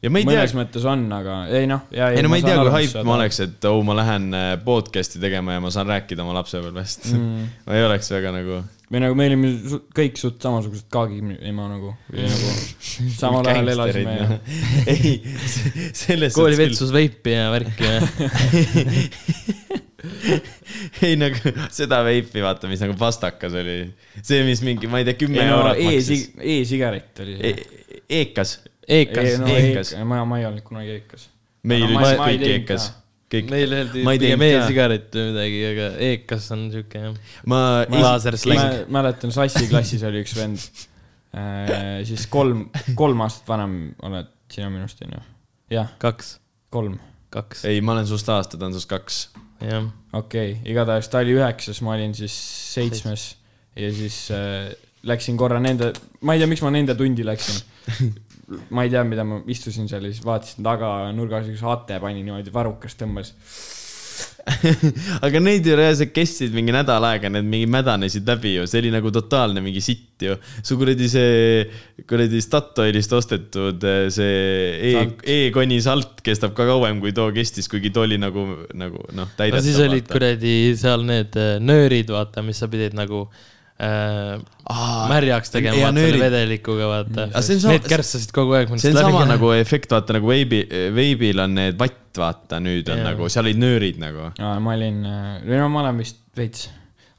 A: ja ma ei tea
B: mõnes , mõttes on , aga ei noh , ja
A: ei no ma ei tea , kui hype ma . oleks , et oo , ma lähen äh, podcast'i tegema ja ma saan rääkida oma lapsepõlvest mm. . ma ei oleks väga nagu ,
B: või nagu me olime su- kõik suht samasugused kaagima nagu , või nagu samal ajal elasime ja
A: Gängsterid, noh. ei , selles
D: kooli
A: suhtes
D: vetsus veipi ja värki ja
A: küll- ei nagu seda veipi , vaata , mis nagu pastakas oli . see , mis mingi , ma ei tea , kümme
B: ei no
A: eurot maksis
B: e-sig- , e-sigaret oli see .
A: e . Eekas ,
D: eekas
B: ei no e-,
A: eekas.
B: eekas , ma , ma ei olnud kunagi eekas .
A: meil
B: Aga ma-
A: ütles
B: ma ei
A: kõik
B: teinud
A: eekas
B: ka. .
A: kõik ,
D: meile öeldi
A: Ma ei
D: pigem
A: teinud ka.
D: e-sigaret või midagi , aga eekas on siuke jah .
A: ma ,
D: laasersläng .
B: E- mäletan , Sassi klassis oli üks vend , siis kolm , kolm aastat vanem oled sina minust onju . jah ,
D: kaks ,
B: kolm ,
D: kaks ,
A: ei , ma olen sinust aasta , ta on sinust kaks .
D: jah .
B: okei okay. , igatahes ta oli üheksas , ma olin siis seitsmes ja siis äh, läksin korra nende , ma ei tea , miks ma nende tundi läksin ma ei tea , mida ma istusin seal ja siis vaatasin taga nurgas üks ate pani niimoodi varrukas tõmbas .
A: aga neid ju reaalselt kestsid mingi nädal aega , need mingi mädanesid läbi ju , see oli nagu totaalne mingi sitt ju . su kuradi see , kuradi Statoilist ostetud eh, see e ,
D: Salt.
A: e-koni salt kestab ka kauem , kui too kestis , kuigi too oli nagu , nagu noh ,
D: no
A: täidetav .
D: siis olid . kuradi seal need äh, nöörid , vaata , mis sa pidid nagu äh, märjaks
A: Ah, ja
D: tegema , vaata selle
A: nöörid.
D: vedelikuga , vaata
A: Aga see on . sama-
D: Need kärssasid kogu aeg .
A: see on sama . nagu efekt , vaata nagu veibi , veibil on need vatt , vaata nüüd on
D: Jaa.
A: nagu , seal olid nöörid nagu .
B: ma olin , või no ma olen vist veits ,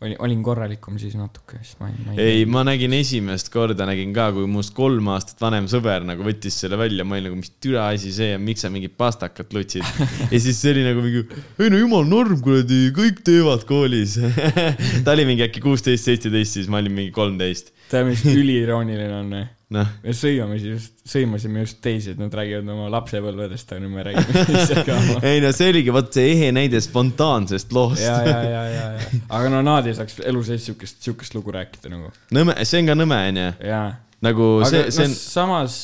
B: olin korralikum siis natuke , sest ma ei , ma ei .
A: ei , ma nägin esimest korda , nägin ka , kui must kolm aastat vanem sõber nagu võttis selle välja , ma olin nagu , mis türa asi see on , miks sa mingit pastakat lutsid . ja siis see oli nagu mingi , ei no jumal norm , kuradi , kõik teevad koolis . ta oli mingi äkki kuusteist , seitseteist , siis ma olin mingi kolmteist .
B: tead , mis üliirooniline on või ?
A: noh ,
B: me sõimame just , sõimasime just teisi , et nad räägivad oma lapsepõlvedest , aga nüüd me räägime lihtsalt ka oma .
A: ei no see oligi vot see ehe näide spontaansest loost .
B: ja , ja , ja , ja , ja , aga no nad ei saaks elu sees siukest , siukest lugu rääkida nagu .
A: nõme , see on ka nõme , onju .
B: jaa .
A: nagu
B: aga
A: see , see
B: noh ,
A: on ,
B: samas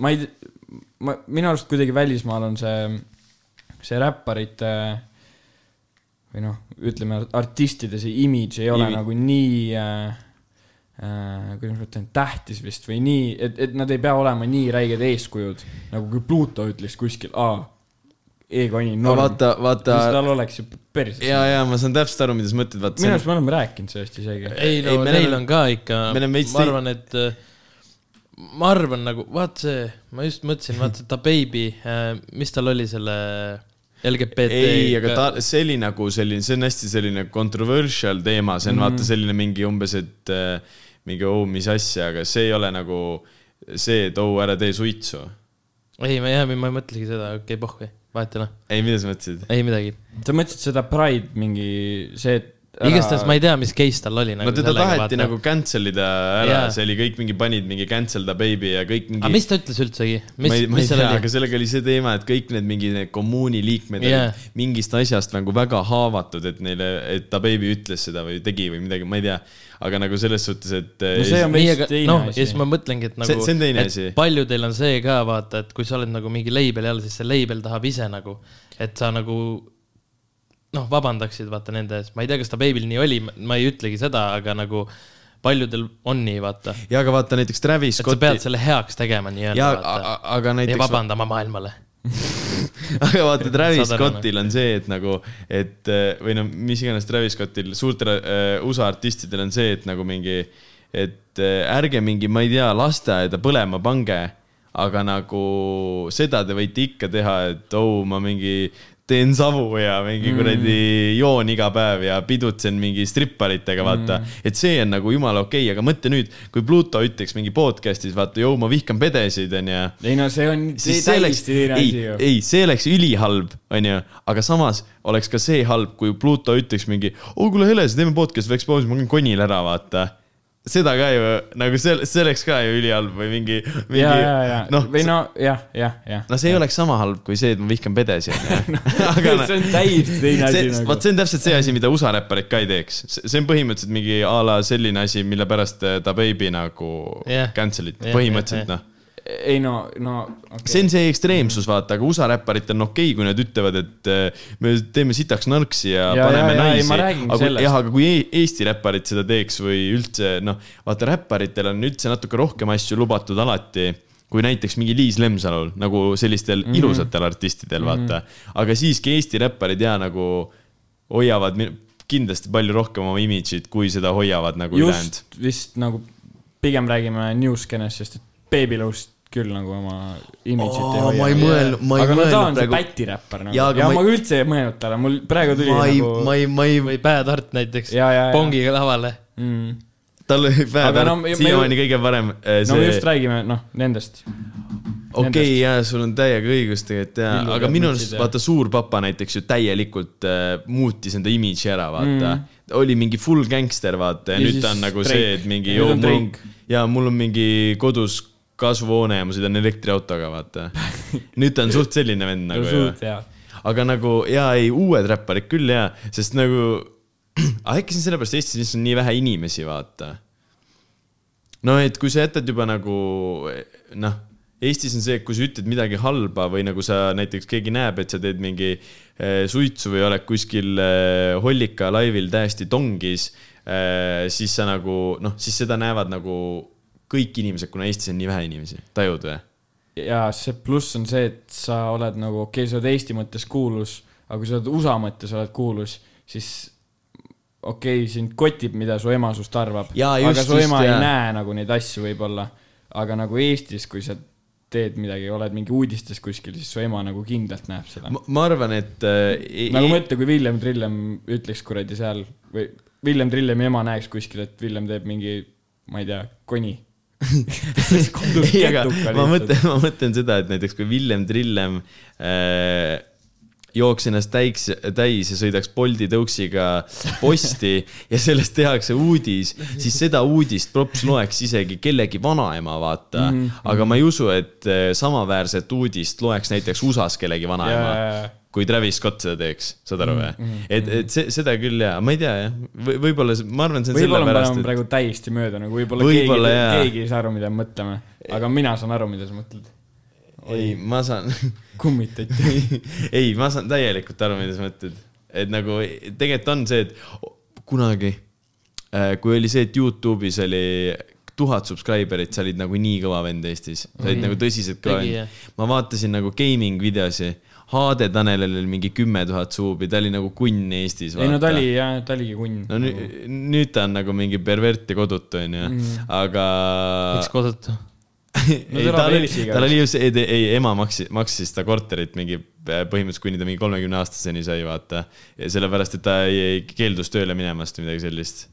B: ma ei , ma , minu arust kuidagi välismaal on see , see räpparite või noh , ütleme artistide see imidž ei ole
A: Imi-
B: Imi. nagu nii äh, äh, kuidas ma ütlen , tähtis vist või nii , et , et nad ei pea olema nii räiged eeskujud , nagu kui Pluto ütles kuskil , aa , e-koni
A: no
B: norm ,
A: vaata , vaata
B: siis tal oleks ju päris .
A: ja , ja ma saan täpselt aru , mida sa mõtled , vaata .
B: minu arust me oleme rääkinud sellest isegi .
D: ei no
A: Ei, me
D: neil
A: oleme-
D: on ka ikka ,
A: me oleme veits
D: ma arvan , et äh, ma arvan nagu , vaat see , ma just mõtlesin , vaata ta Baby , mis tal oli selle LGBT
A: ei , aga ta , see oli nagu selline , see on hästi selline controversial teema , see on mm -hmm. vaata selline mingi umbes , et äh, mingi oo , mis asja , aga see ei ole nagu see , et oo , ära tee suitsu .
D: ei , ma jah , ma ei mõtlesingi seda , okei okay, , pohhu , vahet ei ole ,
A: ei , mida sa mõtlesid ?
D: ei midagi .
B: sa mõtlesid seda Pride mingi , see , et
D: igastahes ma ei tea , mis case tal oli
A: no
D: nagu
A: teda taheti vaata. nagu cancel ida ära yeah.
D: Jaa. ,
A: see oli kõik mingi , panid mingi cancel the baby ja kõik mingi .
D: aga mis ta ütles üldsegi ,
A: ma
D: mis
A: ei , ma ei
D: mis seal
A: tea , aga
D: oli ?
A: sellega oli see teema , et kõik need mingi need kommuuni liikmed yeah.
D: Jaa.
A: olid mingist asjast nagu väga haavatud , et neile , et ta beebi ütles seda või tegi või midagi , ma ei tea . aga nagu selles suhtes , et . äh,
B: No see on
D: nii ,
B: veits
D: aga
B: teine
D: noh , ja
B: asi.
D: siis ma mõtlengi , et nagu .
A: See- see on teine asi.
D: paljudel on see ka vaata , et kui sa oled nagu mingi label all , siis see label tahab ise nagu , et sa nagu noh , vabandaksid vaata nende ees , ma ei tea , kas ta Babyl nii oli , ma ei ütlegi seda , aga nagu paljudel on nii , vaata .
A: ja aga vaata näiteks Travis
D: et sa pead
A: Scotti ,
D: selle heaks tegema nii-öelda
A: ja ,
D: vaata .
A: aga
D: ja
A: näiteks ,
D: vabandama maailmale .
A: aga vaata Travis
D: Saad aru, noh.
A: Scottil on see , et nagu , et eh, või no mis iganes Travis Scottil , suurtel eh, USA artistidel on see , et nagu mingi , et eh, ärge mingi , ma ei tea , lasteaeda põlema pange , aga nagu seda te võite ikka teha , et oh , ma mingi teen savu ja mingi kuradi
D: Mm.
A: joon iga päev ja pidutsen mingi stripparitega , vaata mm. . et see on nagu jumala okei okay, , aga mõtle nüüd , kui Pluto ütleks mingi podcast'is , vaata , joo , ma vihkan pedesid , onju
B: ei no see on
A: siis see oleks ,
B: täiesti teine
A: ei
B: asi , ju .
A: ei , see oleks ülihalb , onju , aga samas oleks ka "Oh, see halb , kui Pluto ütleks mingi , oo kuule Hele , teeme podcast'i , võiks pausi , ma käin konil ära , vaata . seda ka ju nagu see , see oleks ka ju ülihalb või mingi ,
B: ja ,
A: mingi
B: ja , ja ,
A: noh ,
B: või no jah , jah , jah .
A: no see ei oleks sama halb kui see , et ma vihkan pedesid . aga noh ,
B: see on täiesti teine asi
A: see ,
B: nagu
A: vot . see on täpselt see asi , mida USA räpparid ka ei teeks . see on põhimõtteliselt mingi a la selline asi , mille pärast eh, ta Baby nagu
D: Jah.
A: yeah. cancel iti
D: Jah,
A: yeah, , põhimõtteliselt
D: jah,
A: yeah, yeah. noh .
B: ei no , no okay.
A: see on see ekstreemsus , vaata , aga USA räpparitel on okei okay, , kui nad ütlevad , et eh, me teeme sitaks narksi ja,
B: Ja,
A: ja paneme
B: ja, ja, ei,
A: naisi
B: ma räägingi . sellest.
A: aga jah , aga kui E- Eesti räpparid seda teeks või üldse noh , vaata räpparitel on üldse natuke rohkem asju lubatud alati kui näiteks mingi Liis Lemsalul nagu sellistel
B: Mhm.
A: mm -hmm. ilusatel artistidel , vaata . aga siiski Eesti räpparid ja nagu hoiavad mi- kindlasti palju rohkem oma imidžit , kui seda hoiavad nagu ülejäänud
B: just . vist nagu pigem räägime newskenest , sest et Baby Lost küll nagu oma imidžit
A: Oo,
B: ei hoia .
A: ma ei mõelnud- ma ei
B: aga no ta
A: mõelnud
B: on see
A: praegu-
B: päti räppar nagu
A: Jaa,
B: ja,
A: aga
B: ja
A: ma ei-
B: ma, ma üldse ei mõelnud talle , mul praegu tuli
A: ma ei ,
B: nagu
A: ma ei , ma ei ,
D: või Bad Art näiteks
B: Ja, ja, ja.
D: pongiga lavale .
B: mm, .
A: tal oli
B: Aga
A: päev
B: no
A: no,
B: me- me-
A: siiamaani kõige parem eh,
B: no me
A: see
B: just räägime , noh , nendest .
A: okei okay, , jaa , sul on täiega õigus tegelikult jaa ,
D: Villu
A: aga
D: peab
A: minu
D: mütsid
A: arust
D: ja-
A: vaata Suurpapa näiteks ju täielikult äh, muutis enda imidži ära , vaata mm. . ta oli mingi full gangster , vaata , ja
B: Ja
A: nüüd
B: siis
A: ta on nagu
B: Drake.
A: see , et mingi
B: Nüüd
A: joo ,
B: on
A: mul on
B: Drake. ,
A: jaa , mul on mingi kodus kasvuhoone ja ma sõidan elektriautoga , vaata . nüüd ta on suht selline vend nagu ju
B: suht hea .
A: aga nagu jaa , ei uued räpparid küll jaa , sest nagu , aga äkki see on sellepärast Eestis lihtsalt on nii vähe inimesi , vaata . no et kui sa jätad juba nagu noh , Eestis on see , et kui sa ütled midagi halba või nagu sa näiteks keegi näeb , et sa teed mingi eh, suitsu või oled kuskil eh, hollika laivil täiesti tongis , siis sa nagu noh , siis seda näevad nagu kõik inimesed , kuna Eestis on nii vähe inimesi , tajud või ?
B: ja see pluss on see , et sa oled nagu , okei okay, , sa oled Eesti mõttes kuulus , aga kui sa oled USA mõttes oled kuulus , siis okei okay, , sind kotib , mida su ema sinust arvab .
A: Jaa,
B: aga
A: just,
B: su
A: just,
B: ema ei
A: jaa.
B: näe nagu neid asju võib-olla . aga nagu Eestis , kui sa teed midagi , oled mingi uudistes kuskil , siis su ema nagu kindlalt näeb seda .
A: ma arvan , et eh,
B: nagu mõtle , kui Villem Trillem ütleks kuradi seal või Villem Trillemi ema näeks kuskil , et Villem teeb mingi , ma ei tea , koni .
A: ei , aga ma mõtlen , ma mõtlen seda , et näiteks kui Villem Trillem äh, jooks ennast täiks , täis ja sõidaks Bolti tõuksiga posti ja sellest tehakse uudis , siis seda uudist props loeks isegi kellegi vanaema , vaata mm .
B: Mhm.
A: -hmm. aga ma ei usu , et äh, samaväärset uudist loeks näiteks USA-s kellegi vanaema
B: Jaa, jaa, Mhm, jaa.
A: kui Travis Scott seda teeks , saad aru või ? et , et see , seda küll jaa , ma ei tea jah , võib-olla , ma arvan , see on
B: võib-olla me
A: sellepärast ,
B: paneme
A: et
B: praegu täiesti mööda , nagu võib-olla
A: Võib-olla,
B: keegi ,
A: jaa.
B: keegi ei saa aru , mida me mõtleme , aga mina saan aru , mida sa mõtled .
A: ei , ma saan
B: kummitati .
A: ei , ma saan täielikult aru , mida sa mõtled , et nagu tegelikult on see , et kunagi , kui oli see , et Youtube'is oli tuhat subscriber'it , sa olid nagu nii kõva vend Eestis , sa olid nagu tõsiselt kõva
D: Tegija.
A: vend . ma vaatasin nagu gaming videosi , HD Tanelil oli mingi kümme tuhat suubi , ta oli nagu kunn Eestis .
B: ei no ta oli jah , ta oligi kunn
A: no nüüd , nüüd ta on nagu mingi pervert ja kodutu onju ,
B: Mm.
A: aga .
D: miks kodutu ?
B: No
A: ei ,
B: ta elab
A: tal oli ,
B: Elsiga
A: tal oli ju see , ei, ei ema maksis , maksis ta korterit mingi eh, põhimõtteliselt , kuni ta mingi kolmekümne aastaseni sai , vaata . sellepärast , et ta ei, ei keeldus tööle minemast või midagi sellist .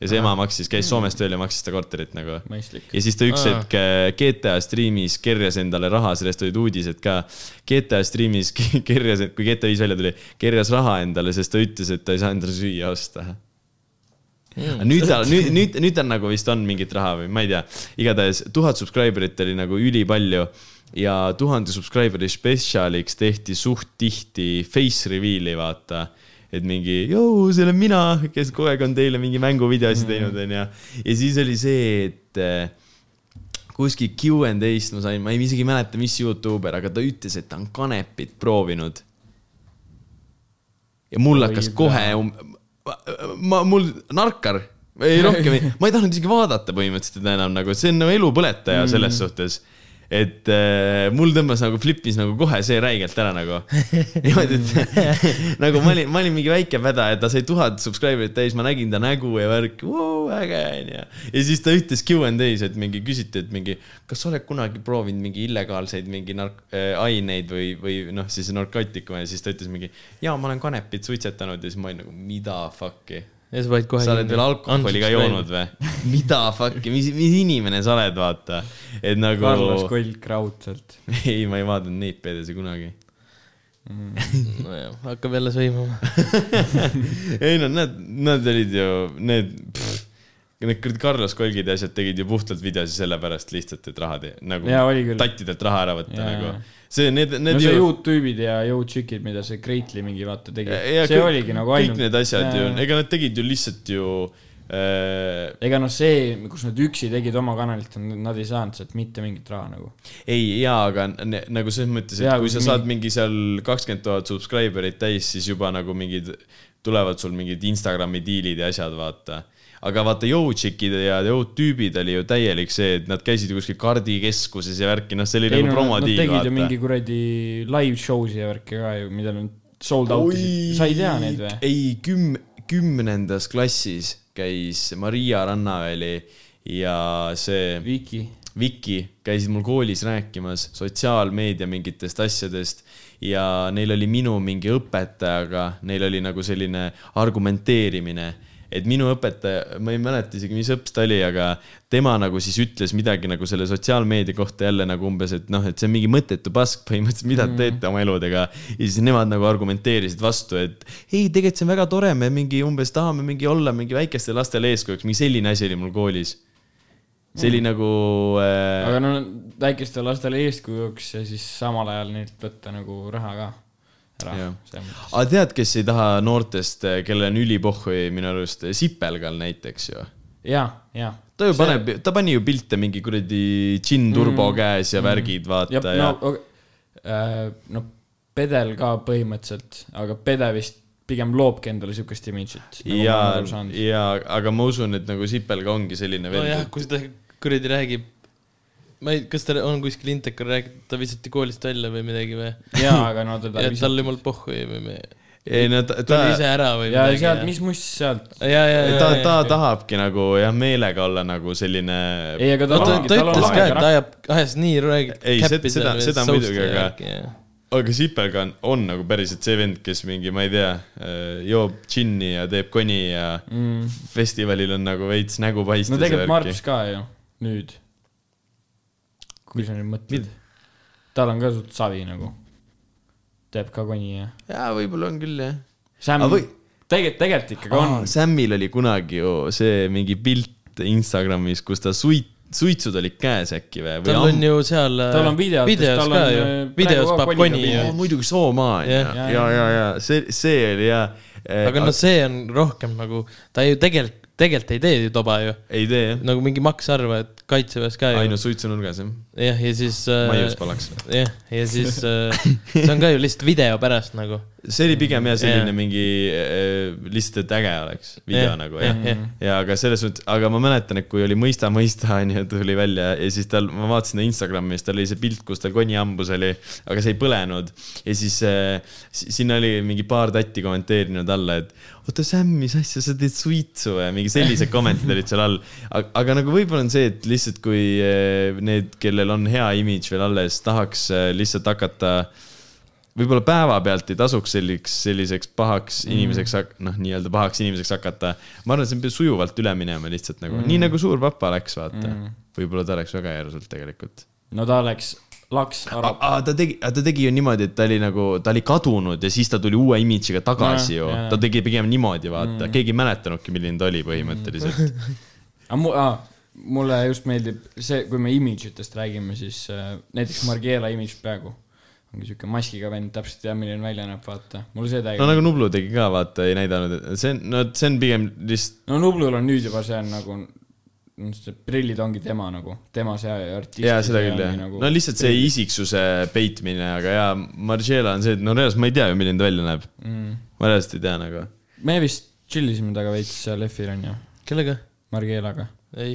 A: ja see ema maksis , käis Soomes tööl ja maksis ta korterit nagu .
B: mõistlik .
A: ja siis ta üks
D: Aa.
A: hetk äh, GTA stream'is kerjas endale raha , sellest olid uudised ka . GTA stream'is kerjas , kui GTA viis välja tuli , kerjas raha endale , sest ta ütles , et ta ei saa endale süüa osta Aga nüüd ta , nüüd , nüüd , nüüd tal nagu vist on mingit raha või ma ei tea , igatahes tuhat subscriber'it oli nagu ülipalju ja tuhande subscriber'i spetsialiks tehti suht tihti face reveal'i , vaata . et mingi , jõu , see olen mina , kes kogu aeg on teile mingi mänguvideosi teinud , onju . ja siis oli see , et äh, kuskil Q and A-st ma sain , ma ei isegi mäleta , mis Youtuber , aga ta ütles , et ta on kanepit proovinud ja mul hakkas kohe , ma , mul narkar , ei rohkem ei , ma ei tahtnud isegi vaadata põhimõtteliselt teda enam nagu , see on nagu elupõletaja mm. selles suhtes . et äh, mul tõmbas nagu flip'is nagu kohe see räigelt ära nagu . niimoodi , et nagu ma olin , ma olin mingi väike päda ja ta sai tuhat subscriber'it täis , ma nägin ta nägu ja värk , äge onju . ja siis ta ütles Q and A-s , et mingi küsiti , et mingi , kas sa oled kunagi proovinud mingi illegaalseid mingi nark- äh, , aineid või , või noh , siis narkootikume ja siis ta ütles mingi , jaa , ma olen kanepit suitsetanud ja siis ma olin nagu mida fuck'i
D: ja sa panid kohe .
A: sa oled veel alkoholi ka joonud ? või ? mida fuck'i , mis , mis inimene sa oled , vaata . et nagu ,
B: Carlos Kolk raudselt .
A: ei , ma ei vaadanud neid peedesi kunagi .
D: nojah , hakkab jälle sõimama .
A: ei no nad , nad olid ju need , Need kuradi Carlos Kolgid ja asjad tegid ju puhtalt videosi sellepärast lihtsalt , et raha tee- , nagu
B: Jaa, oli küll.
A: tattidelt raha ära võtta
B: Jaa.
A: nagu . see , need , need
B: no see Youtube'id ja Youtube'id , mida see Kreitli mingi vaata tegi , see
A: kõik-
B: oligi nagu
A: kõik
B: ainult .
A: need asjad ju , ega nad tegid ju lihtsalt ju äh, ,
B: ega noh , see , kus nad üksi tegid oma kanalit , nad ei saanud sealt mitte mingit raha nagu .
A: ei , jaa , aga ne, nagu selles mõttes , et
B: Jaa,
A: jaa, kui
B: kui
A: sa
B: mingi-
A: saad mingi seal kakskümmend tuhat subscriber'it täis , siis juba nagu mingid , tulevad sul mingid Instagrami diilid ja asjad , vaata . aga vaata , Youtšikide ja Youtübid oli ju täielik see , et nad käisid kuskil kardikeskuses ja värki , noh , see oli
B: ei
A: nagu
B: no nad, nad
A: promodiil ,
B: tegid
A: vaata
B: ju . mingi kuradi live show'si ja värki ka ju , mida nad sold out isid , sa ei tea neid või ?
A: ei , küm- , kümnendas klassis käis Maria Rannaväli ja see
B: Viki ,
A: Viki käisid mul koolis rääkimas sotsiaalmeedia mingitest asjadest ja neil oli minu mingi õpetajaga , neil oli nagu selline argumenteerimine , et minu õpetaja , ma ei mäleta isegi , mis õps ta oli , aga tema nagu siis ütles midagi nagu selle sotsiaalmeedia kohta jälle nagu umbes , et noh , et see on mingi mõttetu pask põhimõtteliselt , mida te teete oma eludega . ja siis nemad nagu argumenteerisid vastu , et ei , tegelikult see on väga tore , me mingi umbes tahame mingi olla mingi väikestele lastele eeskujuks , mingi selline asi oli mul koolis see oli nagu äh,
B: aga no väikestele lastele eeskujuks ja siis samal ajal neilt võtta nagu raha ka ära
A: Jah. .
B: see
A: aga tead , kes ei taha noortest , kellel on ülipohhui minu arust , Sipelgal näiteks ju .
B: ja , ja .
A: ta ju paneb , ta pani ju pilte mingi kuradi džinn turbo mm, käes ja värgid ,
B: ja
A: vaata ja,
B: no , nagu no pedel ka põhimõtteliselt , aga pede vist pigem loobki endale siukest imidžit nagu ma
A: ja
B: olen aru , saanud.
A: ja , aga ma usun , et nagu Sipelga ongi selline
D: nojah ,
A: vend .
D: kui ta kuradi räägib , ma ei , kas ta on kuskil Intekal rääkinud , ta visati koolist välja või midagi või ?
B: jaa , aga no teda
D: ja tal
B: visati .
D: oli mul pohhu või , või me ,
A: ei no ta , ta
D: tuli ise , ära või
B: ja
D: midagi .
B: sealt , mis must sealt ?
D: ja , ja , ja ,
A: ta
D: ja ,,
A: ta tahabki nagu jah , meelega olla nagu selline .
B: ei , aga
D: no
B: tal
D: ta ,
B: ongi ,
D: ta
B: tal on
D: ütles ka ,
B: aega
D: et ta ajab , ajas nii räägib .
A: Ei, se- seda- seda muidugi, aga- aga Sipelga on, on nagu päriselt see vend , kes mingi , ma ei tea , joob džinni ja teeb koni ja mm. festivalil on nagu veits nägu paistes .
B: no tegelikult Marps ka ju , nüüd . kui sa nüüd mõtled . tal on ka suht savi nagu . teeb ka koni ja .
A: jaa , võib-olla on küll jah .
B: Sam
A: Aga või- ,
B: tegelikult , tegelikult ikkagi on .
A: Samil oli kunagi ju see mingi pilt Instagramis , kus ta suit , suitsud olid käes äkki või ?
D: tal on ju seal .
B: Tal on videotes,
D: videos
B: tal
D: ka
B: on,
D: ju
B: äh, ,
D: videos
B: praegu ka koliga
D: paneb koni ju
B: videos. .
A: muidugi Soomaa on ju ,
D: Jah.
A: ja , ja , ja see , see oli Äh, ja .
D: aga noh , see on rohkem nagu , ta ju tegelikult , tegelikult ei tee ju toba ju .
A: ei tee jah ,
D: nagu mingi maksarve , et kaitseväes ka ju .
A: ainult suitsunurgas jah ,
D: jah , ja siis . äh,
A: maius palaks .
D: jah , ja siis äh, see on ka ju lihtsalt video pärast nagu .
A: see oli pigem jah , selline
D: Jah.
A: yeah. mingi äh, lihtsalt , et äge oleks video
D: Jah,
A: yeah. nagu
D: jah,
A: jah
D: jah.
A: yeah. . ja aga selles mõttes , aga ma mäletan , et kui oli Mõista , mõista onju , tuli välja ja siis tal , ma vaatasin ta Instagramis , tal oli see pilt , kus tal konihambus oli , aga see ei põlenud . ja siis äh, si- sinna oli mingi paar tatti kommenteerinud alla , et oota , Sam , mis asja sa teed suitsu ja mingi sellised kommentid olid seal all . aga nagu võib-olla on see , et lihtsalt kui äh, need , kellel on hea imidž veel alles , tahaks äh, lihtsalt hakata võib-olla päevapealt ei tasuks selliseks , selliseks pahaks inimeseks mm. , noh , nii-öelda pahaks inimeseks hakata . ma arvan , et see peab sujuvalt üle minema lihtsalt nagu mm. , nii nagu suur papa läks , vaata mm. . võib-olla ta läks väga järsult tegelikult .
B: no ta läks , laks arab .
A: ta tegi , ta tegi ju niimoodi , et ta oli nagu , ta oli kadunud ja siis ta tuli uue imidžiga tagasi
B: Nojah,
A: ju
B: jaa. .
A: ta tegi pigem niimoodi , vaata mm. , Mm. keegi ei mäletanudki , milline ta oli põhimõtteliselt .
B: aga mu- , mulle just meeldib see , kui me imidžitest räägime , siis äh, näiteks Margiela imidž praegu ongi siuke maskiga vend , täpselt ei tea , milline välja näeb , vaata . mulle see täiega
A: no nagu Nublu tegi ka , vaata , ei näidanud , see on , no see on pigem lihtsalt ,
B: no Nublul on nüüd juba see on nagu , see prillid ongi tema nagu , tema see artist . nagu-
A: jaa , seda küll jah . no lihtsalt see isiksuse peitmine , aga jaa , Margiela on see , et no reaalselt ma ei tea ju , milline ta välja näeb
B: mm. .
A: ma reaalselt ei tea nagu .
B: me vist tšillisime taga veits seal F-il onju ,
D: kellega ?
B: Margielaga .
D: ei ,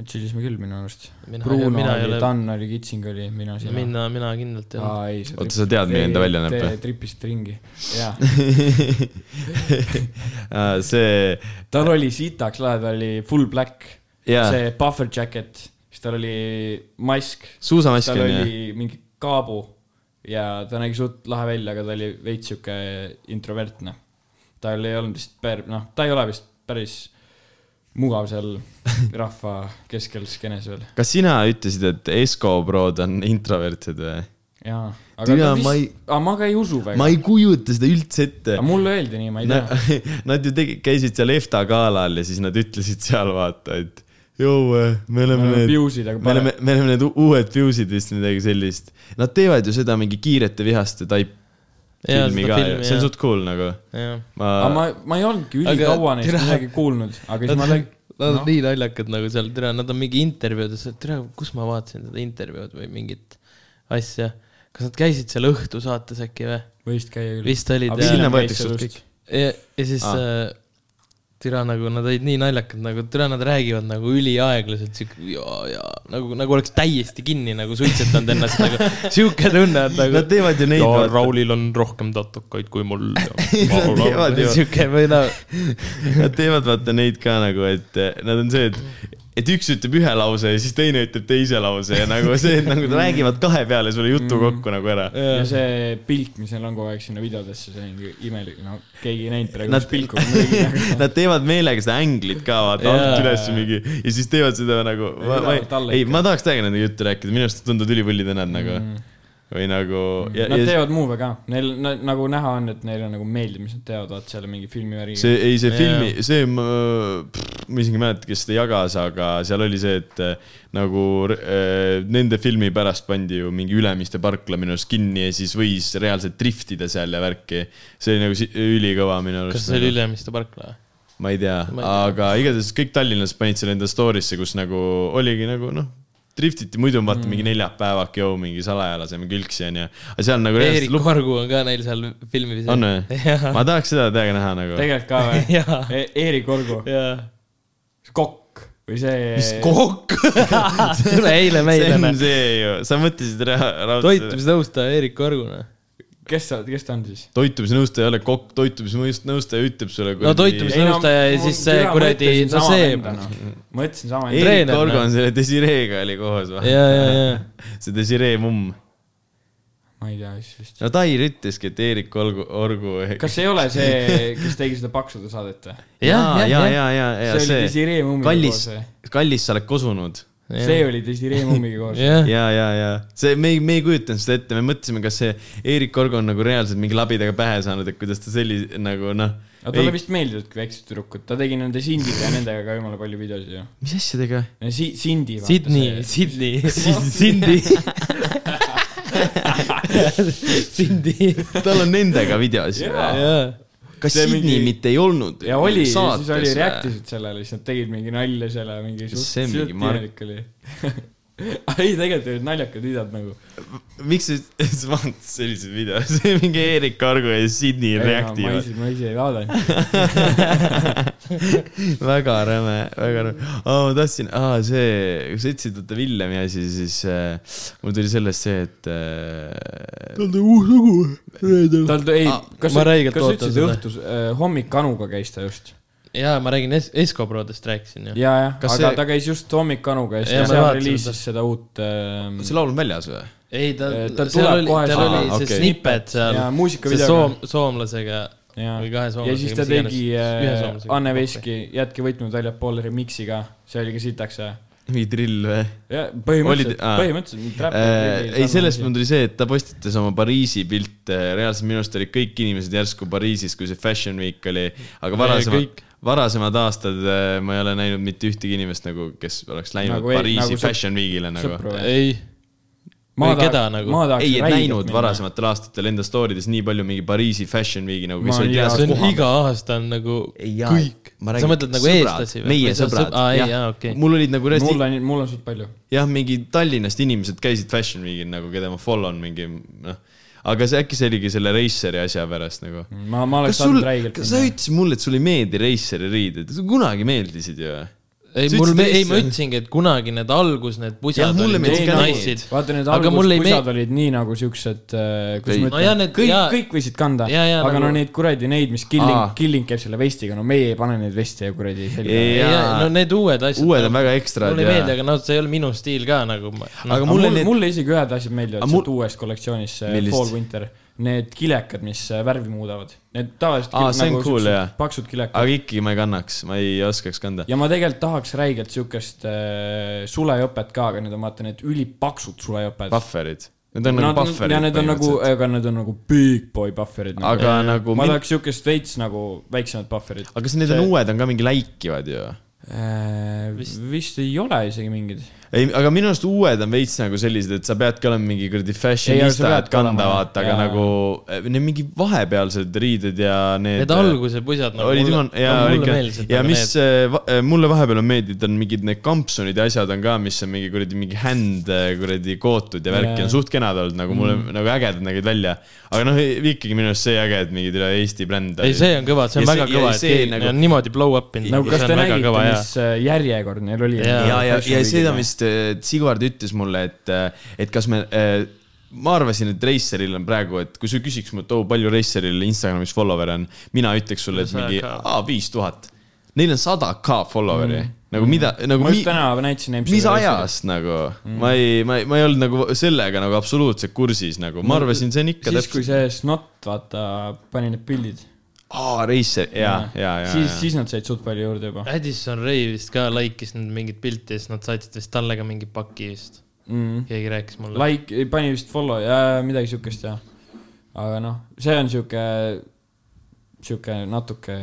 B: tšillisime küll minu arust .
D: mina ,
B: Bruno
D: mina ei
B: oli ,
D: ole ,
B: Tann oli , Kitsing oli , mina sina .
D: mina , mina kindlalt ei ole .
B: aa ei .
A: Oota, sa tead, milline ta välja näeb, või?
B: või ? tripisite ringi , jaa .
A: see ,
B: tal oli sitaks lahe , tal oli full black
A: Jaa.
B: see puffer jacket , siis tal oli mask
A: suusamask
B: tal
A: on ju .
B: oli mingi kaabu ja ta nägi suht lahe välja , aga ta oli veits sihuke introvertne . tal ei olnud vist pär- , noh , ta ei ole vist päris mugav seal rahva keskel skeenes veel .
A: kas sina ütlesid , et Esko Brod on introvertid või ?
B: jaa .
A: Türa, ma ei-
B: aga ma ka ei usu
A: ma
B: väga .
A: ei kujuta seda üldse ette
B: aga . mulle öeldi nii , ma ei tea .
A: Nad ju tegi- , käisid seal EFTA galal ja siis nad ütlesid seal vaata , et jõu , me oleme
B: Me oleme
A: need ,
B: Fuse'id, aga
A: me oleme , me oleme need u- uued Fuse'id vist midagi sellist . Nad teevad ju seda mingi kiirete vihaste type
D: Jaa,
A: filmi
D: seda
A: ka
D: filmi,
A: ju , see on
D: jah.
A: suht cool nagu .
D: jah .
B: aga
A: ma ,
B: ma , ma ei olnudki
D: Aga
B: ülikaua neist
D: türa-
B: midagi kuulnud , aga siis ma
D: Nad on
B: läin ,
D: nad on
B: noh.
D: nii naljakad nagu seal , tere , nad on mingi intervjuudes , et tere , kus ma vaatasin seda intervjuud või mingit asja . kas nad käisid seal õhtusaates äkki või ?
B: võisid käia küll .
D: vist olid
A: Aga
D: jah .
A: sinna võetakse suht kõik. .
D: ja , ja siis
A: Aa.
D: äh, türa nagu nad olid nii naljakad nagu , türa nad räägivad nagu üliaeglaselt siuke ja , ja nagu , nagu oleks täiesti kinni nagu suitsetanud ennast nagu siuke tunne on nagu
A: Nad . teevad ju neid .
D: Raulil on rohkem tatukaid kui mul .
A: Nad teevad ju-
D: siuke või noh ,
A: Nad teevad vaata neid ka nagu , et eh, nad on see , et , et üks ütleb ühe lause ja siis teine ütleb teise lause ja nagu see , et nagu nad räägivad kahe peale sulle jutu kokku nagu ära .
B: ja see pilt , mis neil on kogu aeg sinna videodesse , see on mingi imelik , no keegi ei näinud praegu ,
A: Nad-
B: mis pilku nagu- ma tegin .
A: Nad teevad meelega seda änglit ka , vaata ,
D: Jaa.
A: alt üles mingi ja siis teevad seda nagu , ma , ma
B: Elavad alla
A: ei ,
B: ikka.
A: ma tahaks täiega nendega juttu rääkida , minu arust tunduvad ülipõllid nad nagu või nagu ja,
B: Nad
A: ja
B: teevad move'e ka , neil na, nagu näha on , et neile nagu meeldib , mis nad teevad , vaata seal on mingi filmivärgi .
A: see , ei see
D: Jaa.
A: filmi , see , ma pff, ma isegi ei mäleta , kes seda jagas , aga seal oli see , et eh, nagu eh, nende filmi pärast pandi ju mingi Ülemiste parkla minu arust kinni ja siis võis reaalselt driftida seal ja värki . see oli nagu si- ülikõva minu arust . nagu.
D: kas see oli Ülemiste parkla või ?
A: ma ei tea ,
D: Ma ei tea.
A: aga igatahes kõik Tallinnas panid selle enda story'sse , kus nagu oligi nagu noh , driftiti , muidu on vaata mm. mingi neljapäevake ju mingi salaja laseme külgsi onju , aga seal nagu
D: Eerik
A: reaalselt lup- ,
D: Vargu on ka neil seal filmis .
A: on või ? ma tahaks seda täiega näha nagu .
B: tegelikult ka või
D: Jaa.
B: e ? Eerik Orgu ,
D: jaa .
B: kokk või see .
D: kokk ? tule eile
A: see
D: meile ,
A: on
D: noh .
A: see ju , sa mõtlesid ra- , raudselt .
D: toitumisnõustaja Eerik Vargu , noh .
B: kes sa , kes ta on siis ?
A: toitumisnõustaja ei ole kokk , toitumisnõustaja ütleb sulle .
D: No toitumis- Nõustaja ja siis see kuradi- no see-
B: noh. ma ütlesin sama enda .
A: Eerik
D: treener,
A: Orgo
D: noh.
A: on selle Desireega oli koos või ?
D: ja , ja , ja .
A: see Desiree mumm .
B: ma ei tea , mis vist .
A: no Tair ütleski , et Eerik Orgu , Orgu .
B: kas see ei ole see , kes tegi seda paksude saadet või ?
A: ja , ja , ja , ja , ja
B: see oli
A: see .
B: Desiree Mummiga
A: kallis
B: koos või ?,
A: kallis , sa oled kosunud
B: see oli Desiree Mummiga koos .
D: jah ,
A: ja , ja , ja see , me ei , me ei kujutanud seda ette , me mõtlesime , kas see Eerik Orgo on nagu reaalselt mingi labidaga pähe saanud , et kuidas ta sellise nagu noh .
B: aga talle vist meeldivadki väiksed tüdrukud , ta tegi nende Sindide ja nendega ka jumala palju videosid ju .
A: mis asjadega ?
B: Si- , Sindi .
D: Sydney , Sydney , Sindi . Sindi ,
A: tal on nendega videos ju .
D: jaa .
A: kas
B: See
A: Sydney mingi...
B: mingi-
A: mitte ei olnud ?
B: ja oli , siis oli ,. reaktisid sellele , siis nad tegid mingi nalja selle mingi suht-
A: See on mingi
B: suht
A: Mark-
B: imelik oli . ei , tegelikult olid naljakad videod nagu .
A: miks sa sa vaatad selliseid videosid , mingi Eerik Orgo ja Sydney
B: ma
A: reaktiivad .
B: ise , ma ise ei vaadanud .
A: väga räme , väga räme oh, . ma tahtsin ah, , see , kui sa ütlesid , et Villemi asi , siis äh, mul tuli sellest see , et äh, . tal on uus lugu .
B: tal , ei
D: Ah, ,
B: kas
D: ma
B: sa ,
D: räigelt
B: kas sa
D: ootan
B: ütlesid
D: seda.
B: õhtus , hommik Anuga käis ta just ?
D: jaa , ma räägin es- , Esko Brodest rääkisin ju .
B: ja , jah , aga
A: Kas
B: see...
A: see-
B: ta käis just hommik Anuga ja
D: Jaa,
B: siis
D: ma
B: ta seal
D: vaatasin
B: reliisis seda uut äh,
A: see laul on väljas või ?
D: ei , ta
B: Eh, , ta
D: seal
B: tuleb
D: oli ,
B: kohe
D: tal
B: sinna.
D: oli
A: Aa,
D: see
A: okei.
D: snippet seal
B: ja ,
D: see
B: muusikavideoga
D: soom- , soomlasega
B: ja
D: või kahe
B: ja siis ta
D: soomlasega ,
B: tegi
D: ühe
B: äh,
D: soomlasega.
B: Anne Veski Jätke võtmed väljapoole remix'i ka , see oli ka sitaks jah .
A: mingi drill või ?
B: jah ,
A: Oli-
B: põhimõtteliselt ,
A: aa. Äh,
B: põhimõtteliselt .
A: ei , sellest mul tuli see , et ta postitas oma Pariisi pilte , reaalselt minu arust olid kõik inimesed järsku Pariisis , kui see Fashion Week oli , aga varasemad
D: kõik. ,
A: varasemad aastad äh, ma ei ole näinud mitte ühtegi inimest nagu , kes oleks läinud
B: Nagu
A: nagu
B: ei-
A: Pariisi
B: nagu
A: nagu
B: sõp-
A: Fashion Weekile nagu .
B: sõpru või?
D: ei , või keda nagu?
A: ei , et näinud . varasematel aastatel enda story des nii palju mingi Pariisi Fashion Weeki nagu , kes
B: Ma
A: olid
B: ei-
D: see
A: reaalselt
D: on
A: kohal .
D: iga aasta on nagu
A: Ei, jaa,
D: kõik .
A: ma
D: sa
A: räägin-
D: mõtled nagu
A: sõbrad,
D: eestlasi või ?
A: meie sõbrad,
D: aa , ei ,
A: jah.
D: jaa , okei .
A: mul olid nagu reaalselt
B: mul on , mul on suht palju .
A: jah , mingi Tallinnast inimesed käisid Fashion Weekil nagu , keda ma follow n mingi noh , aga see äkki see oligi selle Raceri asja pärast nagu .
D: Mm.
B: ma , ma
A: kas
B: oleks
A: sul
B: saanud , räigelt
A: kas sa . ütlesid mulle , et sulle ei meeldi Raceri riided , sulle kunagi meeldisid ju ?
D: ei ,
A: Sa
D: mul
A: ütlesid ,
D: ei , ma
A: teist-
D: ütlesingi , et kunagi need algus , need
A: Jah,
D: pusad
A: mulle
D: olid
A: meeldis
D: kõik
A: ka
D: naised .
B: vaata need
D: Aga mulle ei
B: alguspusad olid nii nagu siuksed ,
A: Ei.
B: kuidas ma
D: No jaa,
B: ütlen
D: need- ,
B: kõik
D: jaa. ,
B: kõik võisid kanda ,
D: Jaa, jaa,
B: aga
D: nagu-
B: no neid kuradi neid , mis killing
A: Aa. ,
B: killing käib selle vestiga , no meie ei pane neid veste ju kuradi selga .
A: Ei, jaa.
D: no need uued asjad .
A: Uued on väga ekstrad,
D: mulle ei
A: jaa.
D: meeldi , aga noh , see ei ole minu stiil ka nagu .
A: Aga
D: aga
A: mulle
B: mulle, mulle,
A: need-
B: need... mulle isegi ühed asjad meeldivad
A: Aga
B: mul...
A: mul-
B: sealt uuest kollektsioonist , see
A: Millist?
B: Fall Winter . Need kilekad , mis äh, värvi muudavad , need tavaliselt nagu
A: Aa, see on cool,
B: siuksed
A: jah.
B: paksud kilekad .
A: aga ikkagi ma ei kannaks , ma ei oskaks kanda .
B: ja ma tegelikult tahaks räigelt siukest äh, sulejopet ka , aga need on vaata need ülipaksud sulejoped .
A: Pufferid . Need on nagu bufferid .
B: ja need on nagu , aga need on nagu big boy bufferid nagu. .
A: aga nagu
B: ma
A: min-
B: tahaks siukest veits nagu väiksemat bufferit .
A: aga kas need on uued , on ka mingi läikivad ju ?
B: vist... Äh, vist ei ole isegi mingid .
A: ei , aga minu arust uued on veits nagu sellised , et sa peadki olema mingi kuradi
B: Ei,
A: fashionista
B: aga , sa
A: et
B: peadki
A: kanda
B: olema,
A: vaata , aga
B: jaa.
A: nagu eh, need mingi vahepealsed riided ja need .
D: Need alguse pusad nagu
A: olid jumal , jaa ,
D: mulle
A: ikka .
D: meeldisid . nagu
A: ja mis eh, va- eh, mulle vahepeal on meeldinud , on mingid need kampsunid ja asjad on ka , mis on mingi kuradi mingi händ eh, kuradi kootud ja värki
B: Jaa.
A: on suht kenad olnud , nagu mulle mm. nagu ägedad nägid välja . aga noh , ikkagi minu arust see äge , et mingid üle Eesti bränd .
D: ei , see on kõva , see on
A: Ja
D: väga
A: see- ja
D: kõva , et
A: see
D: keegi
A: nagu-
D: nagu... on niimoodi blow up inud .
B: nagu kas
D: see
B: te
D: on väga
B: nägite ,
D: kõva ja
B: mis äh, järjekord neil oli ?
D: Jaa.
A: ja , ja , ja seda , mis äh, Sigvard ütles mulle , et , et kas me , ma arvasin , et Raceril on praegu , et kui sa küsiks mult , oo , palju Raceril Instagramis follower'e on , mina ütleks sulle , et
D: Üle
A: mingi
D: 100K.
A: viis tuhat . Neil on sada K follower'i mm. , nagu mida , nagu
B: ma
A: mi,
B: just täna näitasin .
A: mis ? ajast nagu mm. , ma ei , ma ei , ma ei olnud nagu sellega nagu absoluutselt kursis nagu , ma arvasin , see on ikka
B: siis , kui
A: täpselt .
B: see Snot , vaata , pani need pildid .
A: aa , Racer , ja , ja , ja .
B: siis , siis nad said suht palju juurde juba .
D: Addison Ray vist ka like'is nüüd mingit pilti ja siis nad saatsid vist talle ka mingi paki vist .
B: Mm.
D: keegi rääkis mulle .
B: like , pani vist follow ja midagi siukest ja . aga noh , see on siuke , siuke natuke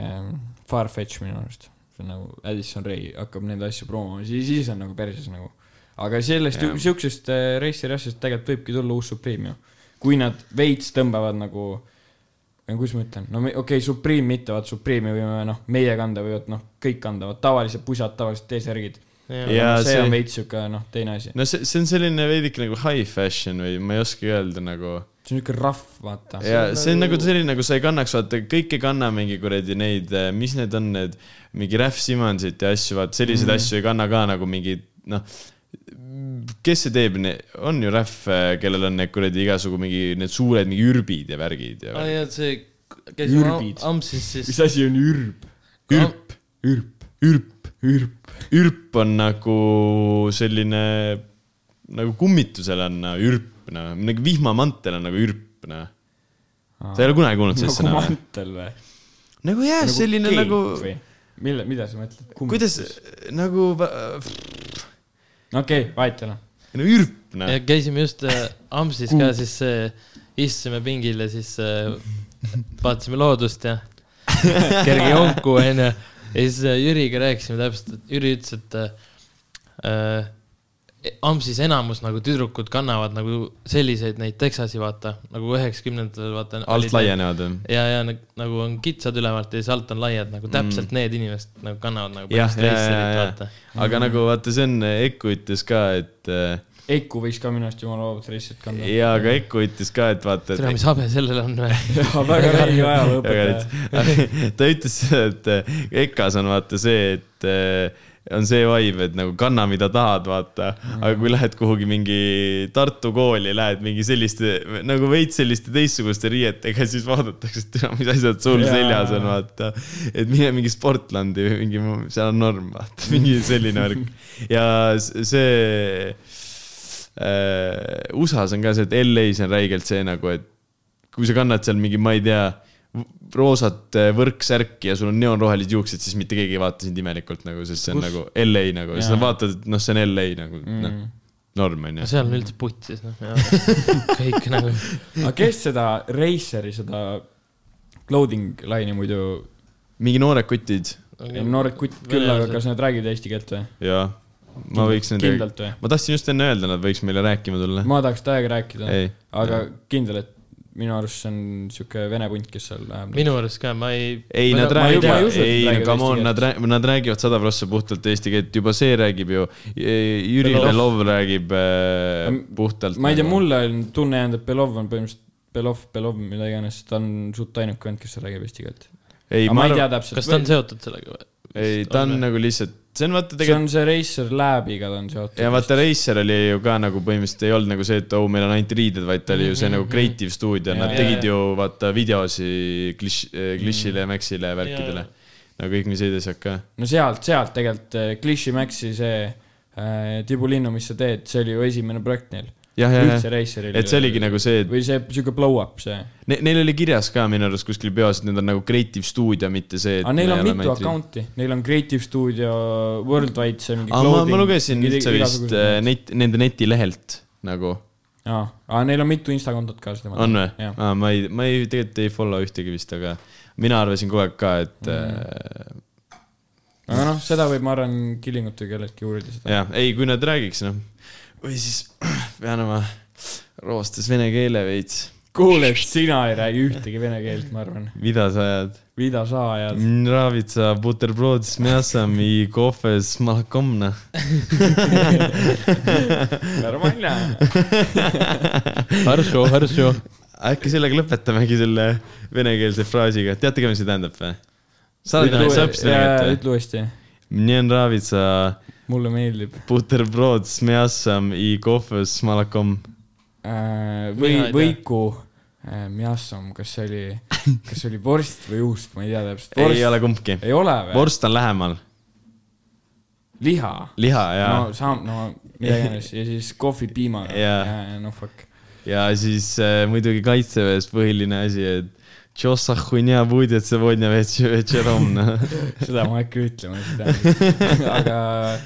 B: far-fetch minu arust . see on nagu Addison Ray hakkab neid asju promoma , siis , siis on nagu päris nagu . aga sellest
A: Jah.
B: yeah. , siuksest äh, racer asjast tegelikult võibki tulla uus Supreme ju . kui nad veits tõmbavad nagu , kuidas ma ütlen , no me- okei okay, , Supreme mitte , vaat Supreme'i võime noh , meie kanda võivad noh , kõik kandavad , tavalised pusad , tavalised T-särgid .
D: ja ,
A: Jaa,
B: see
A: see-
B: on veits siuke noh , teine asi .
A: no see , see on selline veidike nagu high fashion või ma ei oska öelda nagu
B: see on siuke rahv , vaata .
A: ja see on nagu selline , nagu sa ei kannaks , vaata , kõik ei kanna mingi kuradi neid , mis need on , need mingi Raf Simonsit ja asju , vaata
B: Mhm.
A: selliseid mm. asju ei kanna ka nagu mingi noh . kes see teeb , on ju Raf , kellel on need kuradi igasugu mingi need suured mingi ürbid ja värgid ja
D: ja
A: värgid.
D: Ah, see , käisime
B: Ürbid.
D: Am- Ampsis siis
B: mis . asi on ürb ?
A: ürp ,
B: ürb ,
A: ürp ,
B: ürb .
A: ürp on nagu selline nagu kummitusel on no, ürp , noh , nagu vihmamantel on nagu ürp , noh . sa ei ole kunagi kuulnud sellist
B: nagu
A: sõna või ?
B: mantel või ?
A: nagu jah nagu , selline
B: keik
A: nagu
B: või ? mille , mida sa mõtled ?
A: kuidas ? nagu
B: okei , vahet ei ole .
A: no, ürp noh
D: ja . käisime just äh, Ampsis ka , siis äh, istusime pingil ja siis äh, vaatasime loodust ja kerge jonku onju . ja siis äh, Jüriga rääkisime täpselt , et Jüri ütles , et äh, Ampsis enamus nagu tüdrukud kannavad nagu selliseid neid teksasi , vaata nagu üheksakümnendatel , vaata .
A: alt . laienevad või ?
D: ja , ja nag- nagu on kitsad ülevalt ja siis alt on laiad nagu täpselt mm. need inimesed nagu kannavad nagu
A: jah , ja ,
D: päris
A: ja ,
D: reisijad ,
A: ja
D: vaata .,
A: aga nagu vaata , see on , Eku ütles ka , et äh,
B: Eiku võiks ka minu arust jumala vabalt reisijat kanda .
A: ja , aga Eku ütles ka , et vaata ,
D: tere ,
A: et
D: mis habe sellel on või ?
B: väga karmi
A: aga
B: ajalooõpetaja .
A: et- ta ütles seda , et äh, EKA-s on vaata see , et äh, on see vibe , et nagu kanna , mida tahad , vaata . aga kui lähed kuhugi mingi Tartu kooli , lähed mingi selliste nagu veits selliste teistsuguste riietega , siis vaadatakse , et tere, mis asjad sul
B: Jaa.
A: seljas on , vaata . et mine mingi Sportlandi või mingi , seal on norm , vaata , mingi selline värk . ja s- see äh, USA-s on ka see , et LA-s on räigelt see nagu , et kui sa kannad seal mingi , ma ei tea , roosat äh, võrksärki ja sul on neonrohelised juuksed , siis mitte keegi ei vaata sind imelikult nagu , sest see on Kus? nagu LA nagu , siis
B: Jaa.
A: nad vaatavad , et noh , see on LA nagu mm. , noh , norm on
D: no
A: ju .
D: seal on üldse putsis , noh , kõik nagu ,
B: aga kes seda Raceri , seda loading line'i muidu ,
A: mingi noored kutid
B: noored kutt küll , aga kas nad räägivad eesti keelt või ?
A: ja ma võiks nendega ,
B: kindlalt või ?
A: ma tahtsin just enne öelda , nad võiks meile rääkima tulla .
B: ma tahaks täiega rääkida ,
A: ei ,
B: aga kindel , et minu arust see on siuke vene punt , kes seal läheb .
D: minu arust ka , ma ei ,
A: ei ,
B: Ma-
A: nad
B: ma ei- ma ei
A: räägivad ,
B: usu, et nad
A: ei , no
B: räägivad
A: come
B: eesti
A: on ,
B: keelt.
A: nad räägivad , nad räägivad sada prossa puhtalt eesti keelt , juba see räägib ju . Jüri
D: Belov.
A: Belov räägib äh,
B: M-
A: puhtalt .
B: ma ei tea , mulle on tunne jäänud , et Belov on põhimõtteliselt Belov , Belov , mida iganes , ta on suht ainuke vend , kes räägib eesti keelt .
A: ei ,
B: aga
A: ma
B: ma
A: arvan
B: ei , tea täpselt .
D: kas ta on seotud sellega või ?
A: ei , ta on nagu lihtsalt , see on vaata
B: see
A: tegelikult
B: on see Racer Labiga ta on seotud .
A: ja vaata , Racer oli ju ka nagu põhimõtteliselt ei olnud nagu see , et oh , meil on ainult riided , vaid ta oli ju see nagu creative stuudio , nad
B: Mhm, Jaa. Mhm.
A: tegid ju vaata videosi kliš- , klišile , Maxile ja värkidele . no kõik , mis edasi hakka .
B: no sealt , sealt tegelikult eh, Clichy Maxi see äh, tibulinnu , mis sa teed , see oli ju esimene projekt neil .
A: jah , jah ,
B: üldse
A: jah ,
B: Raceril .
A: et see oligi nagu see , et
B: või see siuke blow-up see .
A: ne, neil oli kirjas ka minu arust kuskil peos , et need on nagu creative stuudio , mitte see .
B: aga neil on mitu . account'i , neil on Creative Studio , Worldwide see mingi .
A: eh, aga ma , ma lugesin üldse vist äh, net , nende netilehelt nagu .
B: jaa , aga neil on mitu Instakontot ka seda .
A: on või
B: jah ?
A: aa , ma ei , ma ei , tegelikult ei follow ühtegi vist , aga mina arvasin kogu aeg ka , et mm.
B: aga noh , seda võib , ma arvan , Killingut või kelleltki uurida seda .
A: äh, jah , ei , kui nad räägiks , noh . või siis pean oma roostes vene keele veits .
B: kuule , sina ei räägi ühtegi vene keelt , ma arvan .
A: mida sa ajad ?
B: mida sa ajad ?
A: Нравится бутерброд с мясом и кофе с молоком, на.
B: normaalne .
D: Haršo , Haršo .
A: äkki sellega lõpetamegi selle venekeelse fraasiga , teate ka , mis see tähendab või ? sa oled nagu sõps tegelikult või ?
B: ütle uuesti .
A: Мне нравится
B: mulle meeldib .
A: бутерброд с мясом и кофе с молоком .
B: Äh, või
D: Mina ei tea. ,
B: Võiku . Mjassam , kas see oli , kas see oli vorst või juust , ma ei tea täpselt .
A: ei ole . kumbki .
B: ei ole või ?
A: vorst on lähemal ,
B: liha .
A: liha ja
B: no
A: no. ,
B: saam- , no mida iganes ja siis kohvi piimaga .
A: Jaa.
B: no fuck .
A: ja siis äh, muidugi kaitseväes põhiline asi , et Чё за хуйня будет сегодня веч- вечером? noh.
B: seda ma ei hakka ütlema , seda . aga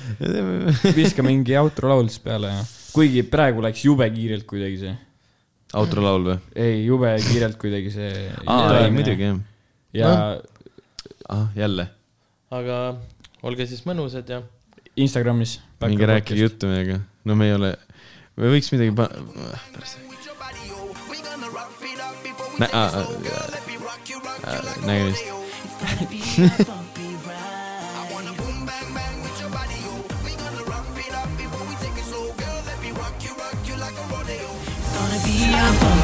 B: viska mingi outro laul siis peale ja , kuigi praegu läks jube kiirelt kuidagi see ,
A: autorlaul või ?
B: ei jube kiirelt kuidagi see .
A: aa , ei muidugi . jah .
B: ja
A: ah , jälle ,
D: aga olge siis mõnusad ja
B: Instagramis .
A: minge rääkige . juttu meiega . no me ei ole , me võiks midagi pa- , pärast Nä- aa, aa, aa, nägin vist .
E: gonna be a bum